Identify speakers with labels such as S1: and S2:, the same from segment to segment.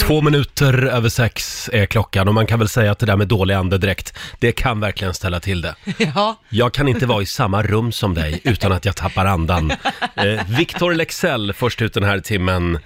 S1: Två minuter över sex är klockan och man kan väl säga att det där med dålig andedräkt, det kan verkligen ställa till det.
S2: Ja.
S1: Jag kan inte vara i samma rum som dig utan att jag tappar andan. Eh, Victor Lexell först ut den här timmen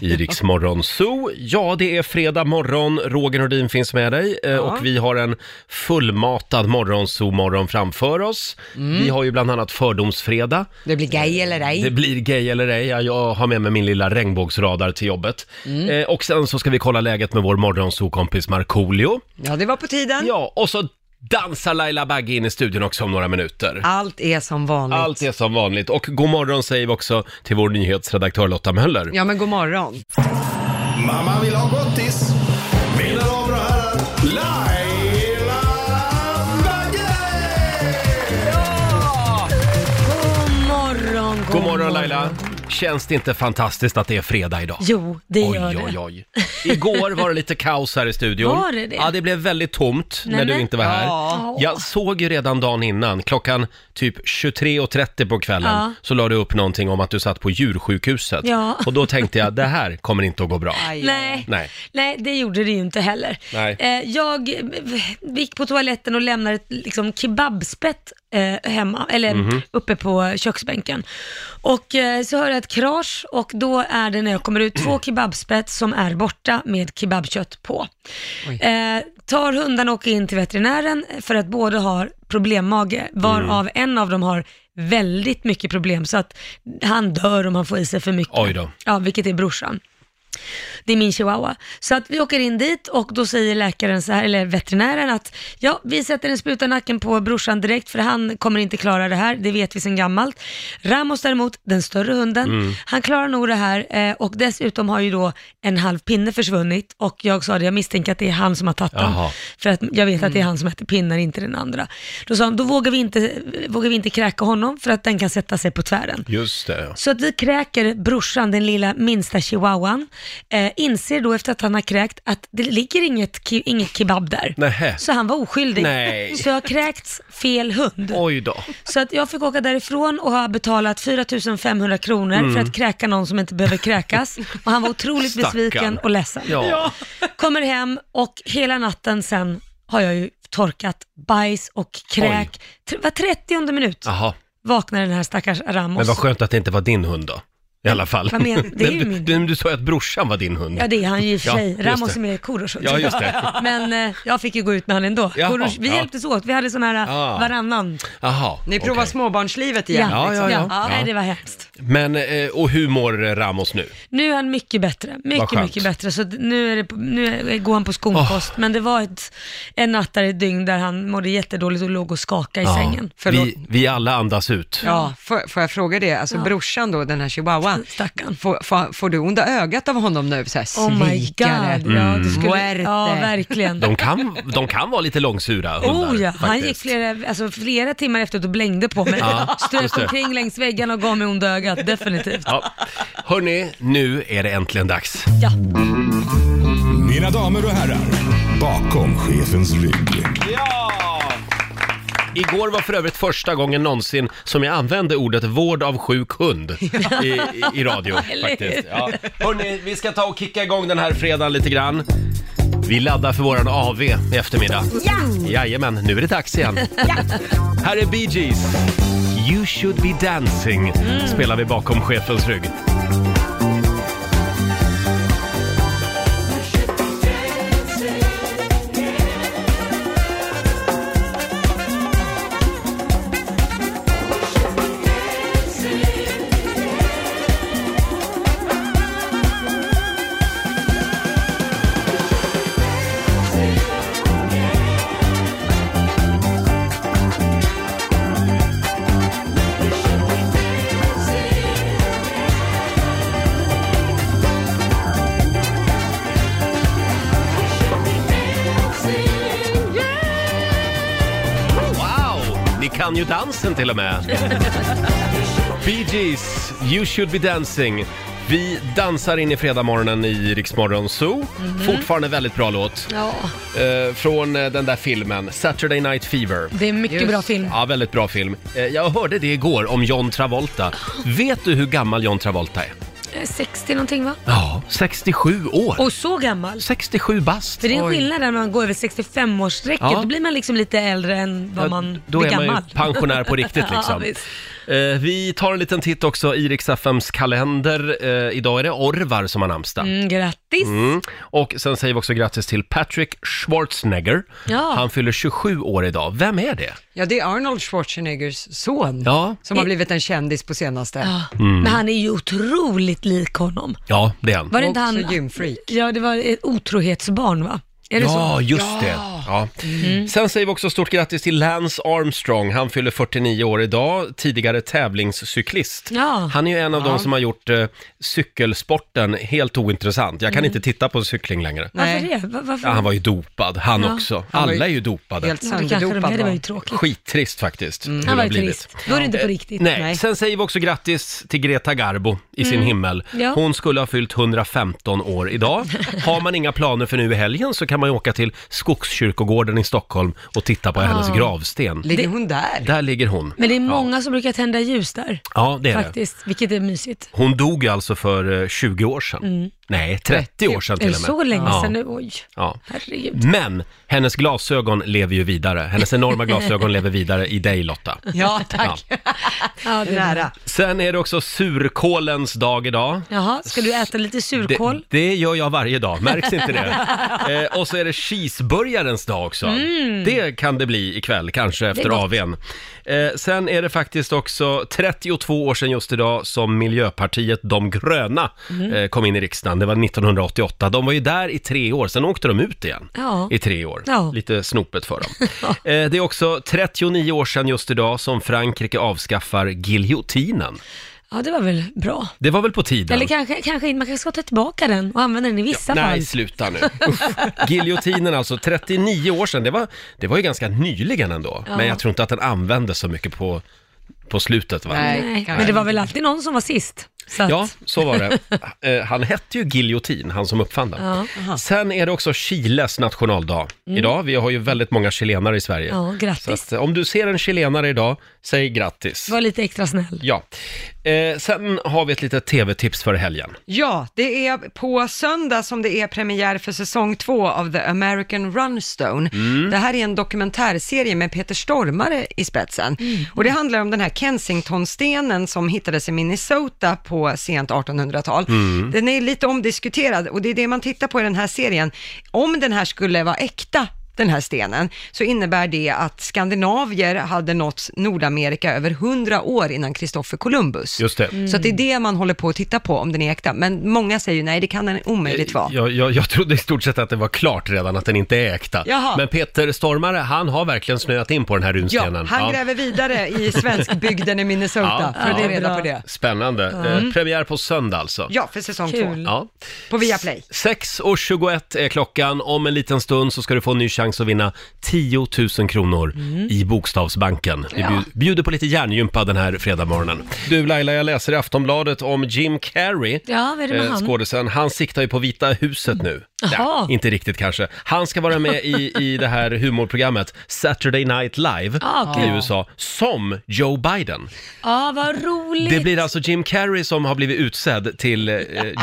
S1: i Rix Morgon Zoo. Ja, det är fredag morgon. Roger Nordin finns med dig eh, och vi har en fullmatad morgon framför oss. Vi har ju bland annat Fördomsfredag.
S2: Det blir
S3: Eh,
S2: gay eller ej.
S1: Det blir gay eller ej. Ja, Jag har med mig min lilla regnbågsradar till jobbet. Eh, och sen så ska vi kolla läget med vår morgonsokompis Markoolio.
S2: Ja, det var på tiden.
S1: Ja, och så dansar Laila Bagge in i studion också om några minuter.
S2: Allt är som vanligt.
S1: Allt är som vanligt. Och god morgon säger vi också till vår nyhetsredaktör Lotta Möller.
S2: Ja, men god morgon.
S4: Mamma vill ha gottis. Mina damer och herrar, Laila Bagge!
S2: God morgon, god,
S1: God morgon Laila! Känns det inte fantastiskt att det är fredag idag?
S3: Jo, det gör
S1: Oj, oj,
S3: det.
S1: oj. Igår var det lite kaos här i studion.
S3: Var det det?
S1: Ja, det blev väldigt tomt när
S3: Nämen.
S1: du inte var här.
S2: Ja.
S1: Jag såg ju redan dagen innan, klockan typ 23.30 på kvällen,
S3: Ja.
S1: så la du upp någonting om att du satt på djursjukhuset.
S3: Ja.
S1: Och då tänkte jag, det här kommer inte att gå bra.
S2: Aj,
S3: Nej.
S1: Nej.
S3: Nej. det gjorde det ju inte heller.
S1: Nej.
S3: Eh, jag eh, gick på toaletten och lämnade ett liksom, kebabspett eh, hemma, eller
S1: Mhm.
S3: uppe på köksbänken. Och eh, så hör jag ett krasch och då är det när jag kommer ut två kebabspett som är borta med kebabkött på. Eh, tar hundarna och åker in till veterinären för att båda har problemmage,
S1: Mm.
S3: varav en av dem har väldigt mycket problem så att han dör om han får i sig för mycket.
S1: Oj då.
S3: Ja, vilket är brorsan. Det är min chihuahua. Så att vi åker in dit och då säger läkaren så här, eller veterinären att ja, vi sätter en spruta i nacken på brorsan direkt för han kommer inte klara det här, det vet vi sedan gammalt. Ramos däremot, den större hunden, han klarar nog det här eh, och dessutom har ju då en halv pinne försvunnit och jag sa det, jag misstänker att det är han som har tagit den.
S1: Jaha.
S3: För att jag vet att det är han som äter pinnar, inte den andra. Då sa han, då vågar vi inte, vågar vi inte kräka honom för att den kan sätta sig på tvären.
S1: Just det.
S3: Så att vi kräker brorsan, den lilla minsta chihuahuan, eh, inser då efter att han har kräkt att det ligger inget, ki- inget kebab där.
S1: Nähä.
S3: Så han var oskyldig.
S1: Nej.
S3: Så jag har kräkts fel hund.
S1: Oj då.
S3: Så att jag fick åka därifrån och ha betalat 4 500 kronor
S1: Mm.
S3: för att kräka någon som inte behöver kräkas. Och han var otroligt
S1: Stackarn.
S3: besviken och ledsen.
S1: Ja. Ja.
S3: Kommer hem och hela natten sen har jag ju torkat bajs och kräk. Tr- Var 30 minut
S1: Jaha.
S3: vaknar den här stackars Ramos.
S1: Men vad skönt att det inte var din hund då. I alla fall.
S3: Vad men- det är ju
S1: du,
S3: min.
S1: du, du sa ju att brorsan var din hund.
S3: Ja det är han ju i och för
S1: Ja,
S3: sig.
S1: just
S3: Ramos
S1: det.
S3: är med Korosh också.
S1: Ja, just det.
S3: Men eh, jag fick ju gå ut med han ändå.
S1: Jaha,
S3: Korosh, vi
S1: ja.
S3: hjälptes åt, vi hade sån här
S1: Ah.
S3: ah. varannan. liksom.
S1: Jaha.
S2: Ni provar
S1: okej.
S2: småbarnslivet igen.
S1: Ja, ja, ja.
S3: Nej, det var hemskt.
S1: Men, eh, och hur mår eh, Ramos nu?
S3: Nu är han mycket bättre, mycket,
S1: skönt.
S3: mycket bättre. Så d- nu, är det, på- nu är- går han på skonkost. Men det var ett, en natt där ett dygn där han mådde jättedåligt och låg och skakade i sängen.
S2: Förlåt.
S1: Vi, vi alla andas ut.
S2: Ja, får, får jag fråga det? Alltså brorsan då, den här chihuahuan,
S3: Stackarn.
S2: får, får, får du onda ögat av honom nu? Så här, Mm.
S3: Oh my god.
S2: svikare.
S3: Ja, det skulle,
S2: Muerte.
S3: ja verkligen.
S1: Mm. De kan, de kan vara lite långsura hundar.
S3: Oh ja, han
S1: faktiskt.
S3: gick flera, alltså, flera timmar efteråt och blängde på mig.
S1: Ja, just
S3: Strök
S1: det.
S3: omkring längs väggarna och gav mig onda ögat, definitivt.
S1: Ja. Hörni, nu är det äntligen dags.
S3: Ja.
S4: Mina damer och herrar, bakom chefens rygg.
S1: Igår var för övrigt första gången någonsin som jag använde ordet vård av sjuk hund i, i, i radio.
S3: Eller hur?
S1: faktiskt. Ja. Hörni, vi ska ta och kicka igång den här fredagen lite grann. Vi laddar för våran AV i eftermiddag. Ja! Jajamän, nu är det dags igen. Här är Bee Gees. You should be dancing spelar vi bakom chefens rygg. Wow! Ni kan ju dansen till och med. Bee Gees, You should be dancing. Vi dansar in i fredagmorgonen i Riksmorgon Zoo. Fortfarande väldigt bra låt.
S3: ja,
S1: Eh, från eh, den där filmen, Saturday Night Fever.
S3: det är en mycket
S2: Just.
S3: bra film.
S1: Ja, väldigt bra film. Eh, jag hörde det igår om John Travolta. Vet du hur gammal John Travolta är?
S3: eh, 60 någonting va?
S1: Ja, 67 år.
S3: Och så gammal.
S1: 67 bast.
S3: För det är en
S1: Oj.
S3: skillnad när man går över 65-årsstrecket.
S1: Ja.
S3: Då blir man liksom lite äldre än vad man
S1: Då
S3: blir
S1: är man ju
S3: gammal.
S1: pensionär på riktigt
S3: Ja,
S1: liksom.
S3: visst.
S1: eh, vi tar en liten titt också i Rix FMs kalender. Eh, idag är det Orvar som har namnsdag.
S3: mm, grattis!
S1: Mm. Och sen säger vi också grattis till Patrick Schwarzenegger.
S3: Ja.
S1: Han fyller 27 år idag. Vem är det?
S2: Ja, det är Arnold Schwarzeneggers son
S1: Ja.
S2: som har blivit en kändis på senaste.
S3: Ja.
S1: Mm.
S3: Men han är ju otroligt lik honom.
S1: Ja, det är han.
S3: Var det
S2: Och
S3: inte
S2: också
S3: han?
S2: gymfreak.
S3: Ja, det var ett otrohetsbarn va? Är det
S1: Ja,
S3: så? Mm.
S1: just det. Ja. Sen säger vi också stort grattis till Lance Armstrong. Han fyller 49 år idag, tidigare tävlingscyklist.
S3: Ja.
S1: Han är ju en av de som har gjort eh, cykelsporten helt ointressant. Jag kan
S3: Mm.
S1: inte titta på cykling längre.
S3: Varför
S2: Nej.
S3: det? Va- Varför?
S1: Ja, han var ju dopad, han också.
S2: var ju
S1: Alla är ju dopade.
S2: Helt
S3: Ja, det kanske de är.
S2: sönderdopad
S3: Det var ju
S2: va?
S3: tråkigt.
S1: Skittrist faktiskt. hur det
S3: Mm. Han
S1: har
S3: var ju
S1: blivit. eh,
S3: turist. Då är det inte på riktigt.
S1: Nej.
S2: Nej.
S1: sen säger vi också grattis till Greta Garbo i sin himmel.
S3: Ja.
S1: Hon skulle ha fyllt 115 år idag. Har man inga planer för nu i helgen så kan man ju åka till Skogskyrkogården i Stockholm och titta på hennes gravsten.
S2: Ligger hon där?
S1: Där ligger hon.
S3: Men det är många som brukar tända ljus där.
S1: Ja, det är det.
S3: Faktiskt, vilket är mysigt.
S1: Hon dog ju alltså för eh, 20 år sedan. Nej, 30 år sedan
S3: Mm. Är det
S1: till och med.
S3: så länge
S1: Ja.
S3: sedan nu? Oj,
S1: Ja.
S3: herregud.
S1: Men hennes glasögon lever ju vidare. Hennes enorma glasögon lever vidare i dig Lotta.
S2: Ja, tack.
S3: Ja, det är
S2: Nära.
S1: Sen är det också surkålens dag idag.
S3: Jaha, ska du äta lite
S1: Det,
S3: surkål?
S1: det gör jag varje dag, märks inte det? Eh, och så är det cheeseburgarens dag också. Det kan det bli ikväll, kanske efter
S3: Mm. gott.
S1: AWn. Eh, sen är det faktiskt också 32 år sedan just idag som Miljöpartiet De gröna
S3: Mm.
S1: eh, kom in i riksdagen. Det var 1988. De var ju där i tre år, sen åkte de ut igen
S3: Ja.
S1: i tre år.
S3: Ja.
S1: Lite snopet för dem. eh, det är också 39 år sedan just idag som Frankrike avskaffar giljotinen.
S3: Ja, det var väl bra.
S1: Det var väl på tiden?
S3: Eller kanske, kanske inte, man kanske ska ta tillbaka den och använda den i vissa fall.
S1: Nej, sluta nu. Usch. Giljotinen alltså, 39 år sedan. Det var, det var ju ganska nyligen ändå.
S3: Ja.
S1: Men jag tror inte att den användes så mycket på, på slutet va?
S2: Nej.
S3: Nej,
S2: kanske.
S3: men det var väl alltid någon som var sist. Så att,
S1: Ja, så var det. Eh, Han hette ju Giljotin, han som uppfann den.
S3: Ja. Mm.
S1: Sen är det också Chiles nationaldag idag. Vi har ju väldigt många chilenare i Sverige.
S3: Ja, grattis.
S1: Så att, eh, om du ser en chilenare idag, säg grattis.
S3: var lite extra snäll.
S1: Ja. Eh, sen har vi ett litet tv-tips för helgen.
S2: Ja, det är på söndag som det är premiär för säsong två av The American Runstone. Det här är en dokumentärserie med Peter Stormare i spetsen. Och det handlar om den här Kensingtonstenen som hittades i Minnesota på sent 1800-tal. Den är lite omdiskuterad och det är det man tittar på i den här serien. Om den här skulle vara äkta den här stenen, så innebär det att skandinavier hade nått Nordamerika över 100 år innan Kristoffer Columbus.
S1: Just
S3: Mm.
S1: det.
S2: Så att det är det man håller på att titta på om den är äkta. Men många säger ju nej, det kan den omöjligt vara.
S1: Eh, Jag, jag, jag trodde i stort sett att det var klart redan att den inte är äkta.
S2: Jaha.
S1: Men Peter Stormare, han har verkligen snöat in på den här
S2: Ja,
S1: runstenen.
S2: han
S1: Ja.
S2: gräver vidare i svenskbygden i Minnesota
S1: Ja,
S2: för att
S1: ja.
S2: ta reda på det.
S1: Spännande. Eh, premiär på söndag alltså.
S2: Mm. Ja, för säsong
S3: Kul.
S2: två.
S1: Ja.
S2: På Viaplay.
S1: 6.21 är klockan. Om en liten stund så ska du få en ny chans att vinna 10 000 kronor
S3: Mm.
S1: i Bokstavsbanken. Vi bjud- bjuder på lite hjärngympa den här fredagmorgonen. Du Laila, jag läser i Aftonbladet om Jim Carrey.
S3: Ja, vad är det med
S1: eh,
S3: han?
S1: Skådisen. Han siktar ju på Vita huset nu.
S3: Jaha.
S1: Nej, inte riktigt kanske. Han ska vara med i, i det här humorprogrammet Saturday Night Live
S3: Ah, okej.
S1: i USA, som Joe Biden.
S3: Ja, vad roligt.
S1: Det blir alltså Jim Carrey som har blivit utsedd till eh,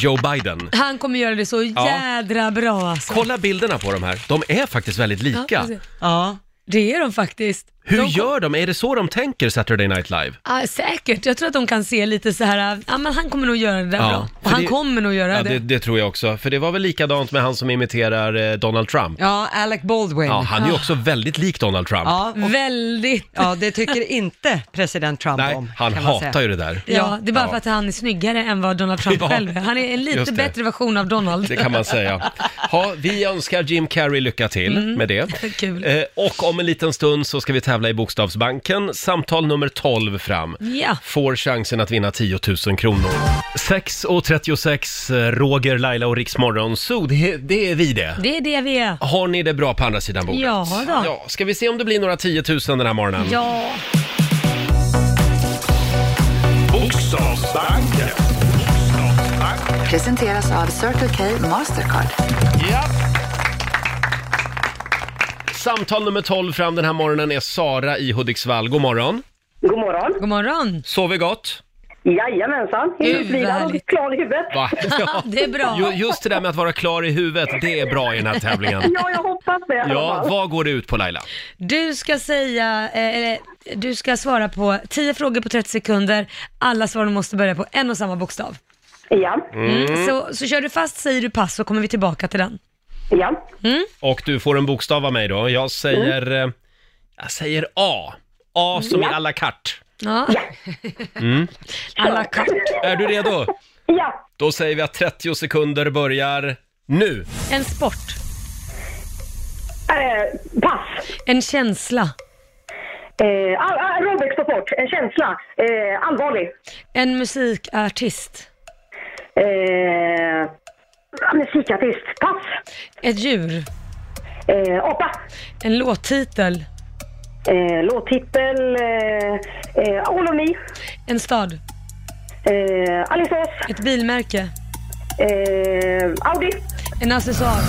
S1: Joe Biden.
S3: Han kommer göra det så jädra bra alltså.
S1: Kolla bilderna på de här. De är faktiskt väldigt lika.
S3: Alltså,
S2: Ja.
S3: Det är de faktiskt.
S1: Hur
S3: de
S1: gör de? Är det så de tänker Saturday Night Live?
S3: Ja, säkert. Jag tror att de kan se lite så här, ja men han kommer nog göra det där
S1: Ja,
S3: bra.
S1: för
S3: Och han
S1: det-
S3: kommer nog göra
S1: Ja,
S3: det.
S1: det, det tror jag också. För det var väl likadant med han som imiterar eh, Donald Trump.
S2: ja, Alec Baldwin.
S1: Ja,
S2: Ja,
S1: han är ju också väldigt lik Donald Trump.
S2: ja, och,
S3: Väldigt. Ja,
S2: ja det tycker inte president Trump
S1: Nej,
S2: om.
S1: han
S2: kan man
S1: hatar
S2: säga.
S1: ju det där.
S3: det är bara
S1: Ja.
S3: för att han är snyggare än vad Donald Trump
S1: Ja,
S3: själv är. Han är en
S1: just det.
S3: lite bättre version av Donald.
S1: Det kan man säga. Ha, vi önskar Jim Carrey lycka till med det.
S3: Mm. Kul.
S1: Eh, och om en liten stund så ska vi tävla i Bokstavsbanken. Samtal nummer 12 fram.
S3: Ja.
S1: Får chansen att vinna 10 000 kronor. 6.36, eh, Roger, Laila och Riksmorgon. Så det, det är vi det.
S3: Det är det vi är.
S1: Har ni det bra på andra sidan bordet?
S3: Ja då.
S1: Ja, ska vi se om det blir några 10 000 den här morgonen?
S3: Ja,
S4: Bokstavsbanken.
S5: Presenteras av Circle K Mastercard.
S1: Samtal nummer 12 fram den här morgonen är Sara i Hudiksvall. God morgon.
S6: God morgon.
S3: god morgon.
S1: Sover gott?
S6: Jajamensan,
S3: Gud,
S6: helt
S3: vad
S6: vilad
S3: härligt.
S6: och klar i huvudet.
S1: Va? Ja.
S3: Det är bra.
S1: Ju- Just det där med att vara klar i huvudet, det är bra i den här tävlingen.
S6: Ja, jag hoppas det i alla
S1: Ja,
S6: fall.
S1: vad går det ut på Laila?
S3: Du ska säga, eh, eller du ska svara på 10 frågor på 30 sekunder. Alla svaren måste börja på en och samma bokstav.
S6: Ja,
S3: Mm. Så, så kör du fast, säger du pass, så kommer vi tillbaka till den.
S6: ja.
S1: Och du får en bokstav av mig då. Jag säger...
S6: Mm.
S1: eh, Jag säger A. A som i à la carte.
S3: Ja. Alla katt.
S1: Är du redo?
S6: Ja,
S1: Då säger vi att 30 sekunder börjar nu.
S3: En sport,
S6: eh, pass.
S3: en känsla,
S6: Eh, all, all, Robex på fort, en känsla. Eh, allvarlig.
S3: en musikartist,
S6: Eh, musikartist. Pass.
S3: ett djur,
S6: Eh, apa.
S3: en låttitel,
S6: Eh, låttitel. Eh, eh, All of me.
S3: en stad,
S6: Eh, Aliceås.
S3: ett bilmärke,
S6: Eh, Audi.
S3: en accessoar.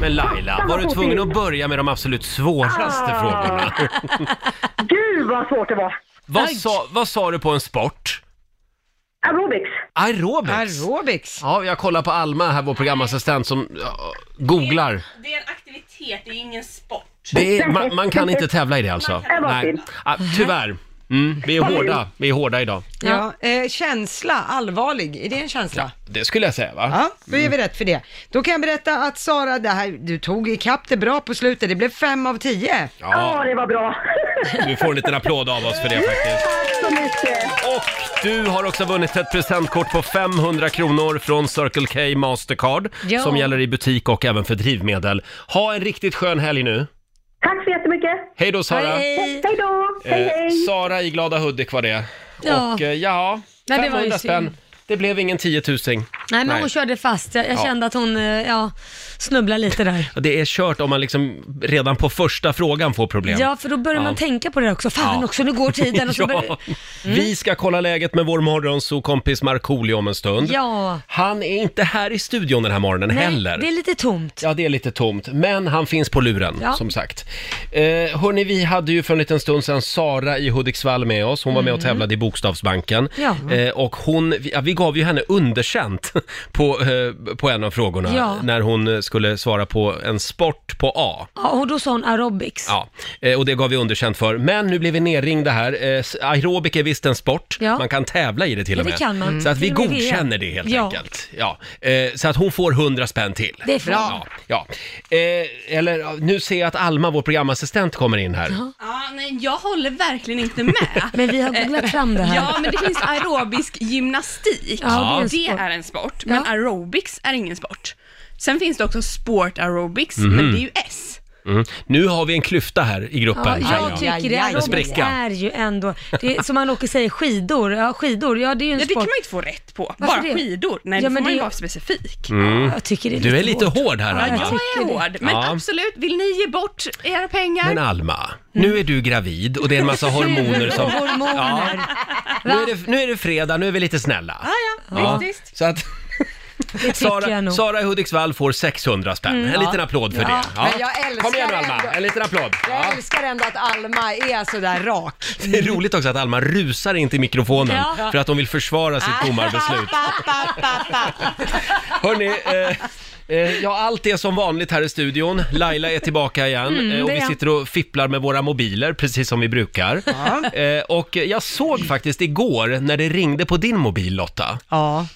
S1: Men Laila, var du tvungen att börja med de absolut
S6: Ah.
S1: svåraste frågorna?
S6: Gud vad svårt det var.
S1: Vad sa, vad sa du på en sport?
S6: Aerobics.
S1: Aerobics?
S2: Aerobics.
S1: Ja, jag kollar på Alma här, vår programassistent, som ja, googlar.
S7: Det är en aktivitet, det är ingen sport.
S1: Det är, man, man kan inte tävla i det alltså?
S6: Det var synd.
S1: Ah, tyvärr. Mm, vi är hårda, vi är hårda idag.
S2: Ja. Eh, känsla, allvarlig, är det en känsla?
S1: Ah, Det skulle jag säga va?
S2: Ja, då ger vi rätt för det. Då kan jag berätta att Sara, det här, du tog ikapp det bra på slutet. Det blev fem av tio.
S6: Ja, det var bra.
S1: Du får en liten applåd av oss för det faktiskt.
S6: Tack så mycket.
S1: Och du har också vunnit ett presentkort på 500 kronor från Circle K Mastercard
S3: Ja.
S1: som gäller i butik och även för drivmedel. Ha en riktigt skön helg nu.
S6: Tack så jättemycket.
S1: Hej då Sara!
S3: Hej!
S6: Hej då. Hej,
S1: Eh,
S6: hej.
S1: Sara i Glada Hudik var det.
S3: Ja.
S1: Och eh, ja,
S3: Nej, det var ju
S1: 500 spänn.
S3: synd.
S1: Det blev ingen tiotusing.
S3: Nej, men
S1: Nej.
S3: hon körde fast. Jag, jag
S1: Ja.
S3: kände att hon eh, ja, snubblade lite där.
S1: Ja, Det är kört om man liksom redan på första frågan får problem.
S3: Ja, för då börjar man tänka på det också. Fan
S1: Ja.
S3: också, nu går tiden. Och så
S1: Ja.
S3: börjar... Mm.
S1: Vi ska kolla läget med vår morgonsokompis Markoolio om en stund.
S3: Ja.
S1: Han är inte här i studion den här morgonen heller.
S3: det är lite tomt.
S1: Ja, det är lite tomt, men han finns på luren,
S3: Ja.
S1: som sagt. Eh, hörni, vi hade ju för en liten stund sedan Sara i Hudiksvall med oss. Hon var med och tävlade i Bokstavsbanken.
S3: Mm. Ja.
S1: Eh, och hon, vi, ja, vi gav ju henne underkänt på, eh, på en av frågorna,
S3: Ja.
S1: när hon eh, skulle svara på en sport på A.
S3: Ja, och då sa hon aerobics.
S1: Ja, eh, och det gav vi underkänt för. Men nu blir vi nerringda här. Eh, s- Aerobik är visst en sport.
S3: Ja.
S1: Man kan tävla i det till och
S3: Ja, det
S1: med.
S3: kan man.
S1: Så att vi
S3: Till och med det.
S1: godkänner det helt
S3: Ja.
S1: enkelt. Ja. Eh, Så att hon får 100 spänn till.
S3: Det är för
S1: Ja, ja. Eh, eller ja, nu ser jag att Alma, vår programassistent, kommer in här.
S7: Ja, nej, jag håller verkligen inte med.
S3: Men vi har googlat fram det här.
S7: Ja, men det finns aerobisk gymnastik.
S3: Ja, det är en
S7: det
S3: sport.
S7: är en sport, men
S3: Ja.
S7: aerobics är ingen sport. Sen finns det också sport aerobics, men det är ju S.
S1: Mm. Nu har vi en klyfta här i
S3: Ja,
S1: gruppen. känner
S3: jag
S1: jag.
S3: tycker det.
S2: Ja, ja, ja.
S3: Aerobics
S1: Spricka.
S3: är ju ändå, det är, som man åker säger, skidor. Ja, skidor, ja det är ju en
S7: Ja, det kan
S3: sport.
S7: man ju inte få rätt på.
S3: Varför
S7: Bara
S3: det?
S7: skidor. Nej,
S3: Ja,
S7: då
S3: men
S7: får man ju
S3: det-
S7: vara specifik.
S3: Jag tycker det är
S1: Du är lite
S3: hårt.
S1: hård här,
S3: typ. Ja, jag
S1: Alma.
S7: Jag är
S3: tycker det.
S7: hård, men
S1: Ja.
S7: absolut. Vill ni ge bort era pengar?
S1: Men Alma, nu är du gravid och det är en massa hormoner som...
S3: Hormoner.
S1: Nu är, det, nu är det fredag, nu är vi lite snälla.
S7: ja,
S1: Ja,
S7: faktiskt.
S1: Så att...
S3: Ah, Det tycker jag
S1: Sara,
S3: nog. Mm,
S1: Sara i Hudiksvall får 600 spänn. En liten applåd för det. Ja.
S2: men jag älskar
S1: Kom igen nu, Alma,
S2: ändå.
S1: en liten applåd.
S2: Jag
S1: Ja.
S2: älskar ändå att Alma är sådär rak.
S1: Det är roligt också att Alma rusar in till mikrofonen
S3: Ja. Ah.
S1: för att hon vill försvara sitt domarbeslut. Hörni, eh, eh, ja allt är som vanligt här i studion. Laila är tillbaka igen eh, och
S3: Mm, det är
S1: vi
S3: jag.
S1: sitter och fipplar med våra mobiler precis som vi brukar. Eh, och jag såg faktiskt igår när det ringde på din mobil Lotta.
S2: Ja,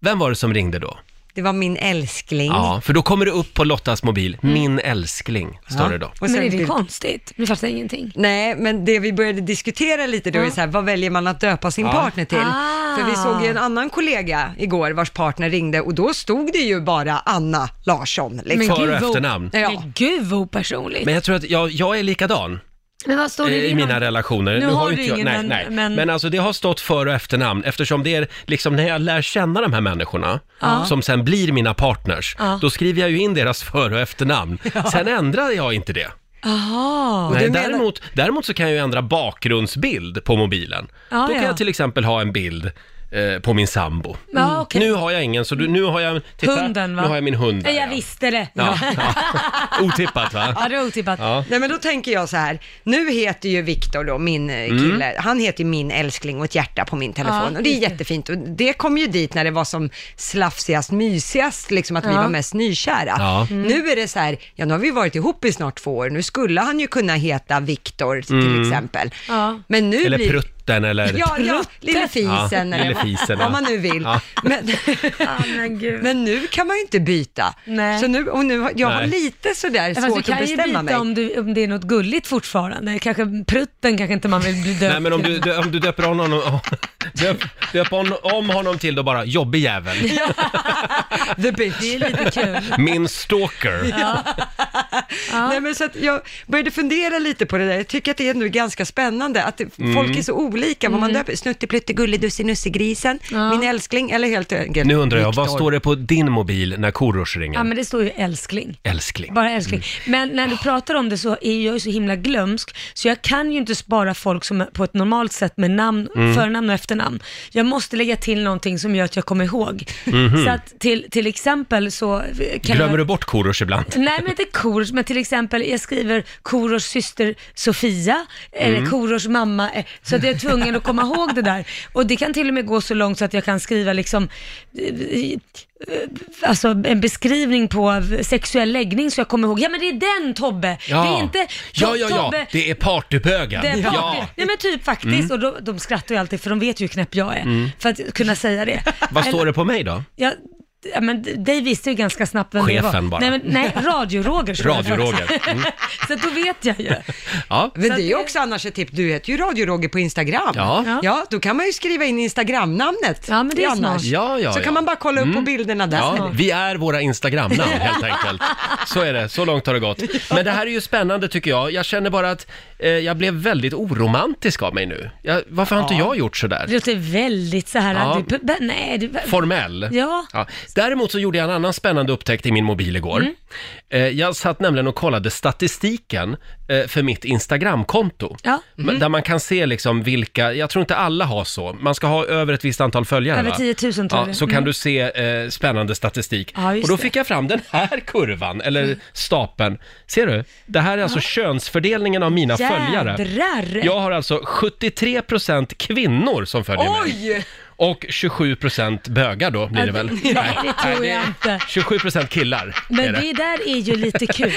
S1: Vem var det som ringde då?
S2: det var min älskling.
S1: Ja, för då kommer det upp på Lottas mobil,
S3: Mm.
S1: min älskling, står det då.
S2: Och
S3: Men
S2: sen
S3: är det
S2: bild-
S3: konstigt? Det fattar jag ingenting.
S2: Nej, men det vi började diskutera lite då är så här, vad väljer man att döpa sin partner till?
S3: Ah.
S2: För vi såg ju en annan kollega igår vars partner ringde och då stod det ju bara Anna Larsson. Liksom.
S1: För och
S3: gud, vad-
S1: efternamn.
S3: Ja.
S2: Ja.
S3: Men gud vad opersonligt.
S1: Men
S3: Men,
S1: jag tror att jag, jag är likadan
S3: vad står det
S1: eh, i
S3: din
S1: mina
S3: hand?
S1: relationer.
S3: Nu har
S1: ju
S3: du
S1: inte jag-
S3: ingen,
S1: nej,
S3: men-
S1: nej. men...
S3: men-
S1: alltså det har stått för och efternamn eftersom det är liksom när jag lär känna de här människorna som sen blir mina partners,
S3: Ja.
S1: då skriver jag ju in deras för och efternamn. Sen ändrar jag inte det.
S3: Jaha.
S1: Nej,
S2: du menar-
S1: däremot, däremot så kan jag ju ändra bakgrundsbild på mobilen.
S3: Ja,
S1: då kan
S3: ja.
S1: jag till exempel ha en bild eh, på min sambo.
S3: Ja, okej.
S1: mm, Nu har jag ingen, så du, nu har jag, titta,
S3: Hunden va?
S1: nu har jag min hund där,
S3: Nej, Jag
S1: ja.
S3: visste det.
S1: Ja,
S3: Ja,
S1: ja. Otippat va?
S3: ja det var otippat.
S1: Ja.
S2: Nej men då tänker jag så här, nu heter ju Viktor då, min eh,
S1: Mm.
S2: kille, han heter ju min älskling och ett hjärta på min telefon
S3: Ja,
S2: och det är
S3: just det.
S2: jättefint och det kom ju dit när det var som slafsigast, mysigast, liksom att vi
S3: Ja.
S2: var mest nykära. Mm.
S1: Ja.
S2: Nu är det så här, ja nu har vi varit ihop i snart två år, nu skulle han ju kunna heta Viktor till exempel.
S3: Ja.
S2: Men nu
S1: Mm. Eller
S2: blir...
S1: prutten eller...
S2: Ja, ja, lille fisen
S1: Ja,
S2: eller
S1: lille fisen, ja.
S2: vad man nu vill.
S1: Ja.
S2: Men,
S3: Ah, men gud.
S2: men nu kan man ju inte byta.
S3: Nej.
S2: Så nu, och nu, har- jag har
S1: Nej.
S2: lite sådär
S3: Ja, Fast du
S2: svårt att
S3: kan ju byta
S2: bestämma mig.
S3: om, du, om det är något gulligt fortfarande. Kanske prutten kanske inte man vill bli döpt
S1: Nej men om
S3: till.
S1: du, dö- om du döper honom, döp, döp hon, om honom till då bara jobbig jävel,
S2: The bitch.
S3: Det är lite kul.
S1: min stalker.
S2: Nej, men så att jag började fundera lite på det där. Jag tycker att det är nu ganska spännande att det- folk är så olika vad man döper. Snutteplutte, gulledussinussegrisen,
S3: Ja.
S2: min älskling eller helt enkelt
S1: Nu undrar jag, vad
S2: Viktor.
S1: står det på din mobil när Korosh
S3: Ja,
S1: ringer?
S3: men det står ju älskling.
S1: Älskling. Mm. Ah.
S3: Bara älskling. Men när du pratar om det så är jag ju så himla glömsk, så jag kan ju inte spara folk som på ett normalt sätt med namn,
S1: Mm.
S3: förnamn och efternamn. Jag måste lägga till någonting som gör att jag kommer ihåg. Så att till, till exempel så... Kan jag...
S1: Mhm. Glömmer du bort Korosh ibland?
S3: Nej, men inte Korosh, men till exempel jag skriver Korosh syster Sofia,
S1: Mm.
S3: eller Korosh mamma, eh, så att jag är tvungen att komma ihåg det där. Och det kan till och med gå så långt så att jag kan skriva liksom, eh, eh, alltså en beskrivning på sexuell läggning så jag kommer ihåg, ja men det är den Tobbe, det är inte
S1: ja, ja, ja,
S3: Tobbe,
S1: det är partybögen.
S3: det är bra.
S1: Ja. Mm.
S3: Nej men typ faktiskt, och de, de skrattar ju alltid för de vet ju hur knäpp jag är, för att kunna säga det.
S1: Vad står det på mig då?
S3: Ja, d- ja, men d- dig visste ju ganska snabbt vem det var.
S1: Chefen bara. Mm.
S3: Nej, men, nej Radio-Roger. står det
S1: Radio-Roger.
S3: faktiskt. Så att då vet jag ju.
S1: Ja.
S2: Men det
S3: Så
S2: är
S3: att
S2: ju
S3: det-
S2: också annars ett tips. Du heter ju Radio Roger på Instagram.
S1: Ja.
S3: Ja.
S2: ja då kan man ju skriva in Instagram-namnet.
S3: Ja, men det är
S2: annars.
S3: smart.
S1: Ja, ja,
S2: Så
S1: ja.
S2: kan man bara kolla upp på bilderna där.
S1: Ja, vi är våra Instagram-namn helt enkelt. Så är det, så långt har det gått. Men det här är ju spännande tycker jag. Jag känner bara att eh, jag blev väldigt oromantisk av mig nu. Jag, varför har inte jag gjort
S3: Det
S1: sådär?
S3: låter väldigt så här...
S1: Ja.
S3: Du, p- nej, du,
S1: Formell.
S3: Ja.
S1: Däremot så gjorde jag en annan spännande upptäckt i min mobil igår.
S3: Mm.
S1: Eh, jag satt nämligen och kollade statistiken eh, för mitt Instagramkonto.
S3: Ja. Mm.
S1: Men Där man kan se liksom vilka, jag tror inte alla har så, man ska ha över ett visst antal följare
S3: Över
S1: va?
S3: 10 000 tror
S1: ja,
S3: jag.
S1: Så kan
S3: Mm.
S1: du se eh, spännande statistik.
S3: Ja, just
S1: och då
S3: det. Mm.
S1: fick jag fram den här kurvan, eller stapeln. Ser du? Det här är alltså könsfördelningen av mina följare.
S3: Jädrar!
S1: Jag har alltså 73% kvinnor som följer mig.
S2: Oj!
S1: Och 27% bögar då blir det väl?
S3: Nej, det tror jag inte.
S1: 27% killar är
S3: Men
S1: det.
S3: det där är ju lite kul.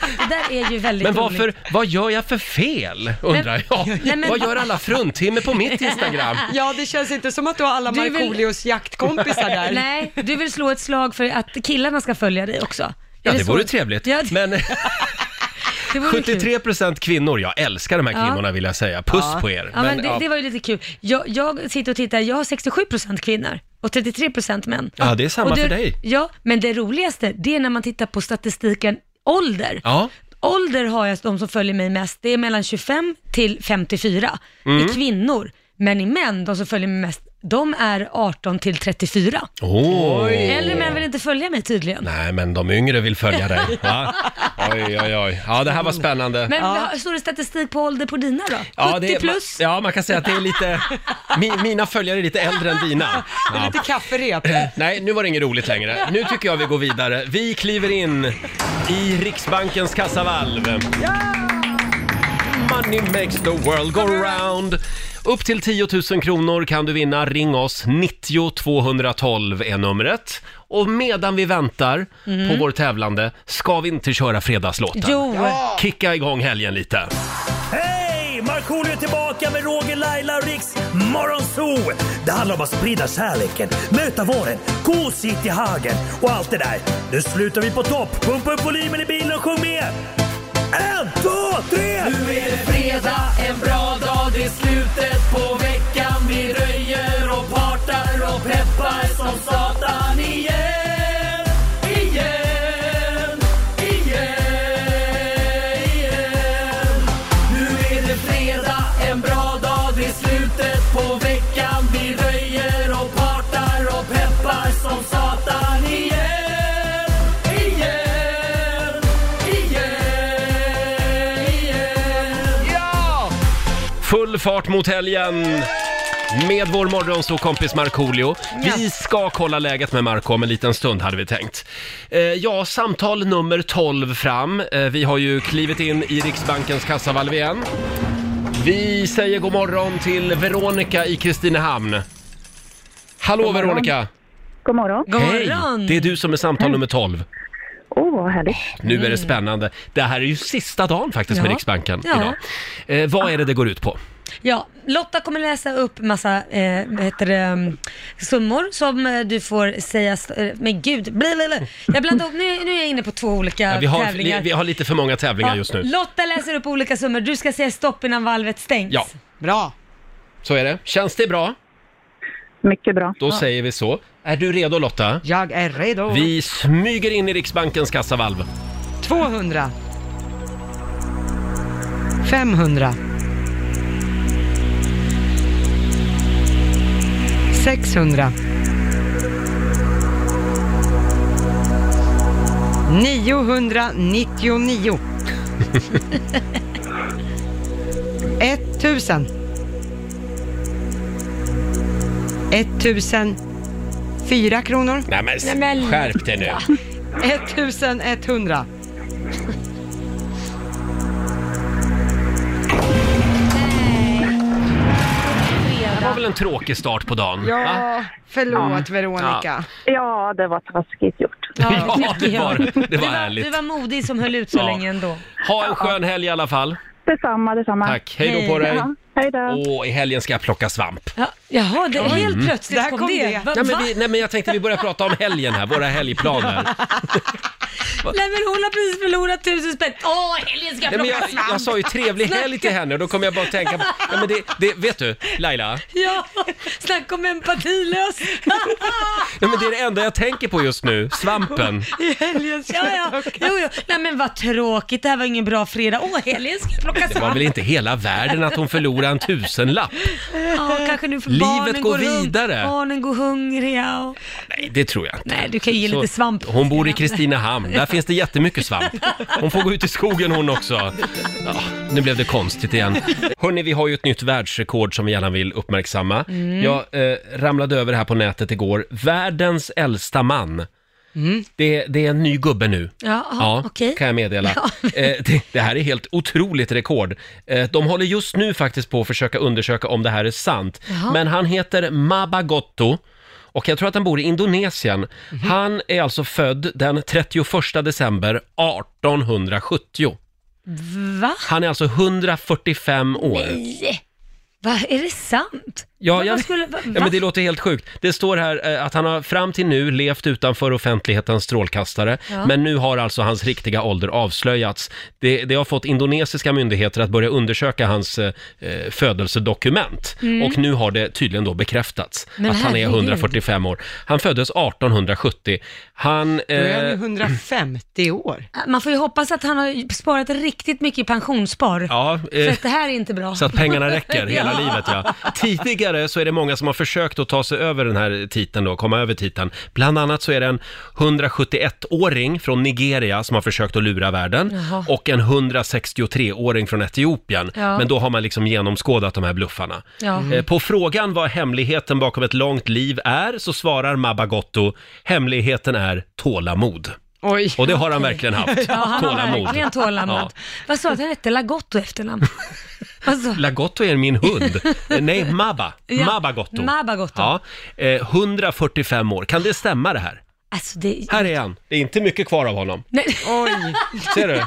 S3: Det där är ju väldigt
S1: Men
S3: roligt.
S1: varför, vad gör jag för fel undrar
S3: Men-
S1: jag?
S3: Nej, men-
S1: Vad gör alla fruntimmer på mitt Instagram?
S2: Ja, det känns inte som att du har alla
S3: Du är väl-
S2: Markoolios jaktkompisar där.
S3: Nej, du vill slå ett slag för att killarna ska följa dig också. Är
S1: Ja, det
S3: så?
S1: vore trevligt.
S3: Ja, det,
S1: Men
S3: det vore kul.
S1: 73% kvinnor, jag älskar de här
S3: Ja.
S1: kvinnorna vill jag säga. Puss på er.
S3: Ja, men, det,
S1: ja.
S3: det var ju lite kul. Jag, jag sitter och tittar, jag har 67% kvinnor och 33% män.
S1: Ja, det är samma
S3: Och det,
S1: för dig.
S3: Ja, men det roligaste, det är när man tittar på statistiken ålder.
S1: Ja.
S3: Ålder har jag de som följer mig mest, det är mellan 25 till 54
S1: Mm.
S3: i kvinnor. Men i män, de som följer mig mest, de är 18 till 34.
S1: Åh.
S3: Äldre män vill inte följa mig tydligen.
S1: Nej, men de yngre vill följa dig. Va? Oj, oj, oj. Ja, det här var spännande.
S3: Men vad- står det statistik på ålder på dina då? 70
S1: ja, det är,
S3: plus?
S1: Ja, man kan säga att det är lite... Mi, mina följare är lite äldre än dina. Ja.
S2: Lite kafferep.
S1: Nej, nu var det inget roligt längre. Nu tycker jag vi går vidare. Vi kliver in i Riksbankens kassavalv. Money makes the world go round. Upp till 10 000 kronor kan du vinna. Ring oss. 90 212 är numret. Och medan vi väntar på vår tävlande, ska vi inte köra fredagslåten?
S3: Jo,
S1: Kicka igång helgen lite.
S8: Hej! Markoolio är tillbaka med Roger, Laila och Riks Morgonzoo! Det handlar om att sprida kärleken, möta våren, gosigt i hagen och allt det där. Nu slutar vi på topp! Pumpa upp volymen i bilen och sjung med! En, två, tre! Nu är det fredag, en bra dag, det är slutet på veckan. Vi röjer och partar och peppar som satan igen, igen, igen, igen. Nu är det fredag, en bra dag, det är slutet på veckan Vi röjer och partar och peppar som satan igen Igen, igen, igen
S1: Full fart mot helgen! med vår morgonsokompis Markoolio. Vi ska kolla läget med Marco om en liten stund hade vi tänkt. Eh, ja, samtal nummer 12 fram. Eh, vi har ju klivit in i Riksbankens kassavalv igen. Vi säger god morgon till Veronica i Kristinehamn. Hallå
S6: morgon.
S1: Veronica!
S6: God morgon.
S3: God morgon! Mm.
S1: Hej! Det är du som är samtal nummer 12.
S6: Åh, oh, vad härligt.
S1: Nu är det spännande. Det här är ju sista dagen faktiskt med
S3: Ja.
S1: Riksbanken
S3: Ja.
S1: idag. Eh, vad är det det går ut på?
S3: Ja, Lotta kommer läsa upp massa eh, vad heter det, summor som eh, du får säga, st- eh, men gud, blablabla. jag blandar ihop, nu, nu är jag inne på två olika
S1: Ja, vi, har,
S3: tävlingar.
S1: li, vi har lite för många tävlingar
S3: Ja,
S1: just nu.
S3: Lotta läser upp olika summor, du ska säga stopp innan valvet stängs.
S1: Ja,
S2: Bra.
S1: så är det. Känns det bra?
S6: Mycket bra.
S1: Då säger vi så. Är du redo Lotta?
S2: Jag är redo.
S1: Vi smyger in i Riksbankens kassavalv.
S2: 200. 500. 600. 999. 1000. 1004 kronor.
S1: Nej men,
S3: Nej, men-
S1: skärp dig nu.
S2: 1100.
S1: Det var väl en tråkig start på dagen? va?
S2: Ja, förlåt Veronica.
S6: Ja, det var taskigt gjort.
S1: Ja, det
S3: tycker jag.
S1: var, det
S3: Du
S1: var
S3: var, du
S1: ärligt.
S3: var modig som höll ut så
S1: Ja.
S3: länge ändå.
S1: Ha en skön helg i alla fall.
S6: Detsamma, detsamma.
S1: Tack, hej då
S3: Hej.
S1: på dig.
S6: Ja, hej då.
S1: Och i helgen ska jag plocka svamp.
S3: Ja, jaha, det, helt plötsligt
S2: Där
S3: kom,
S2: kom
S3: det.
S2: det.
S3: Va,
S1: Nej men,
S3: va?
S1: vi, nej men jag tänkte vi börjar prata om helgen här, våra helgplaner.
S3: Nej men hon har precis förlorat tusen spänn. Åh, helgen ska jag
S1: Nej, men
S3: plocka
S1: jag,
S3: svamp!
S1: jag sa ju trevlig helg till henne och då kom jag bara att tänka på, nej, men det, det, vet du Laila,
S3: Ja, snacka om empatilös!
S1: nej, men det är det enda jag tänker på just nu, svampen.
S3: I helgen ska ja, ja. Jo, jo. Nej men vad tråkigt, det här var ingen bra fredag. Åh, helgen ska jag plocka
S1: Det var
S3: svamp!
S1: väl inte hela världen att hon förlorade en tusenlapp?
S3: Ja, kanske nu för
S1: Livet
S3: barnen
S1: går
S3: hung-
S1: vidare.
S3: Barnen går hungriga och...
S1: Nej, det tror jag inte.
S3: Nej, du kan ju ge
S1: Så-
S3: lite svamp.
S1: Hon bor i Kristinehamn, där finns det jättemycket svamp. Hon får gå ut i skogen hon också. Ja, nu blev det konstigt igen. Hörni, vi har ju ett nytt världsrekord som vi gärna vill uppmärksamma.
S3: Mm.
S1: Jag eh, ramlade över här på nätet igår. Världens äldsta man. Det, det är en ny gubbe nu.
S3: Mm. Ja, ja okej.
S1: kan jag meddela. Eh, det, det här är helt otroligt rekord. Eh, de håller just nu faktiskt på att försöka undersöka om det här är sant. Men han heter Mabagotto och jag tror att han bor i Indonesien. Han är alltså född den 31 december 1870.
S3: Va?
S1: Han är alltså 145 år.
S3: Nej. Va, är det sant?
S1: Ja,
S3: Vad-
S1: jag,
S3: vad skulle, va,
S1: ja, men det låter helt sjukt. Det står här eh, att han har fram till nu levt utanför offentlighetens strålkastare, men nu har alltså hans riktiga ålder avslöjats. Det, det har fått indonesiska myndigheter att börja undersöka hans eh, eh, födelsedokument och nu har det tydligen då bekräftats
S3: Mm. Men
S1: att han är
S3: herregud.
S1: 145 år. Han föddes 1870. Han...
S2: Då är han ju
S1: eh,
S2: 150 år.
S3: Man får ju hoppas att han har sparat riktigt mycket i pensionsspar.
S1: ja, eh,
S3: För att det här är inte bra.
S1: Så att pengarna räcker hela
S3: Ja.
S1: livet ja. Tidigare så är det många som har försökt att ta sig över den här titeln då, komma över titeln. Bland annat så är det en 171-åring från Nigeria som har försökt att lura världen
S3: Jaha.
S1: och en 163-åring från Etiopien.
S3: Ja.
S1: Men då har man liksom genomskådat de här bluffarna.
S3: Ja. Mm.
S1: Eh, På frågan vad hemligheten bakom ett långt liv är så svarar Mabagotto, hemligheten är tålamod.
S2: Oj.
S1: Och det har han verkligen haft.
S3: Ja, han har
S1: tålamod.
S3: verkligen tålamod.
S1: Ja.
S3: Vad sa du att han hette? Lagotto efternamn? Vad sa du?
S1: Lagotto är min hund. Eh, Nej, Mabba.
S3: Ja,
S1: Mabagotto.
S3: Mabagotto.
S1: Ja. Eh, 145 år. Kan det stämma det här?
S3: Alltså det...
S1: Här är han. Det är inte mycket kvar av honom.
S3: Nej,
S2: Oj.
S1: Ser du?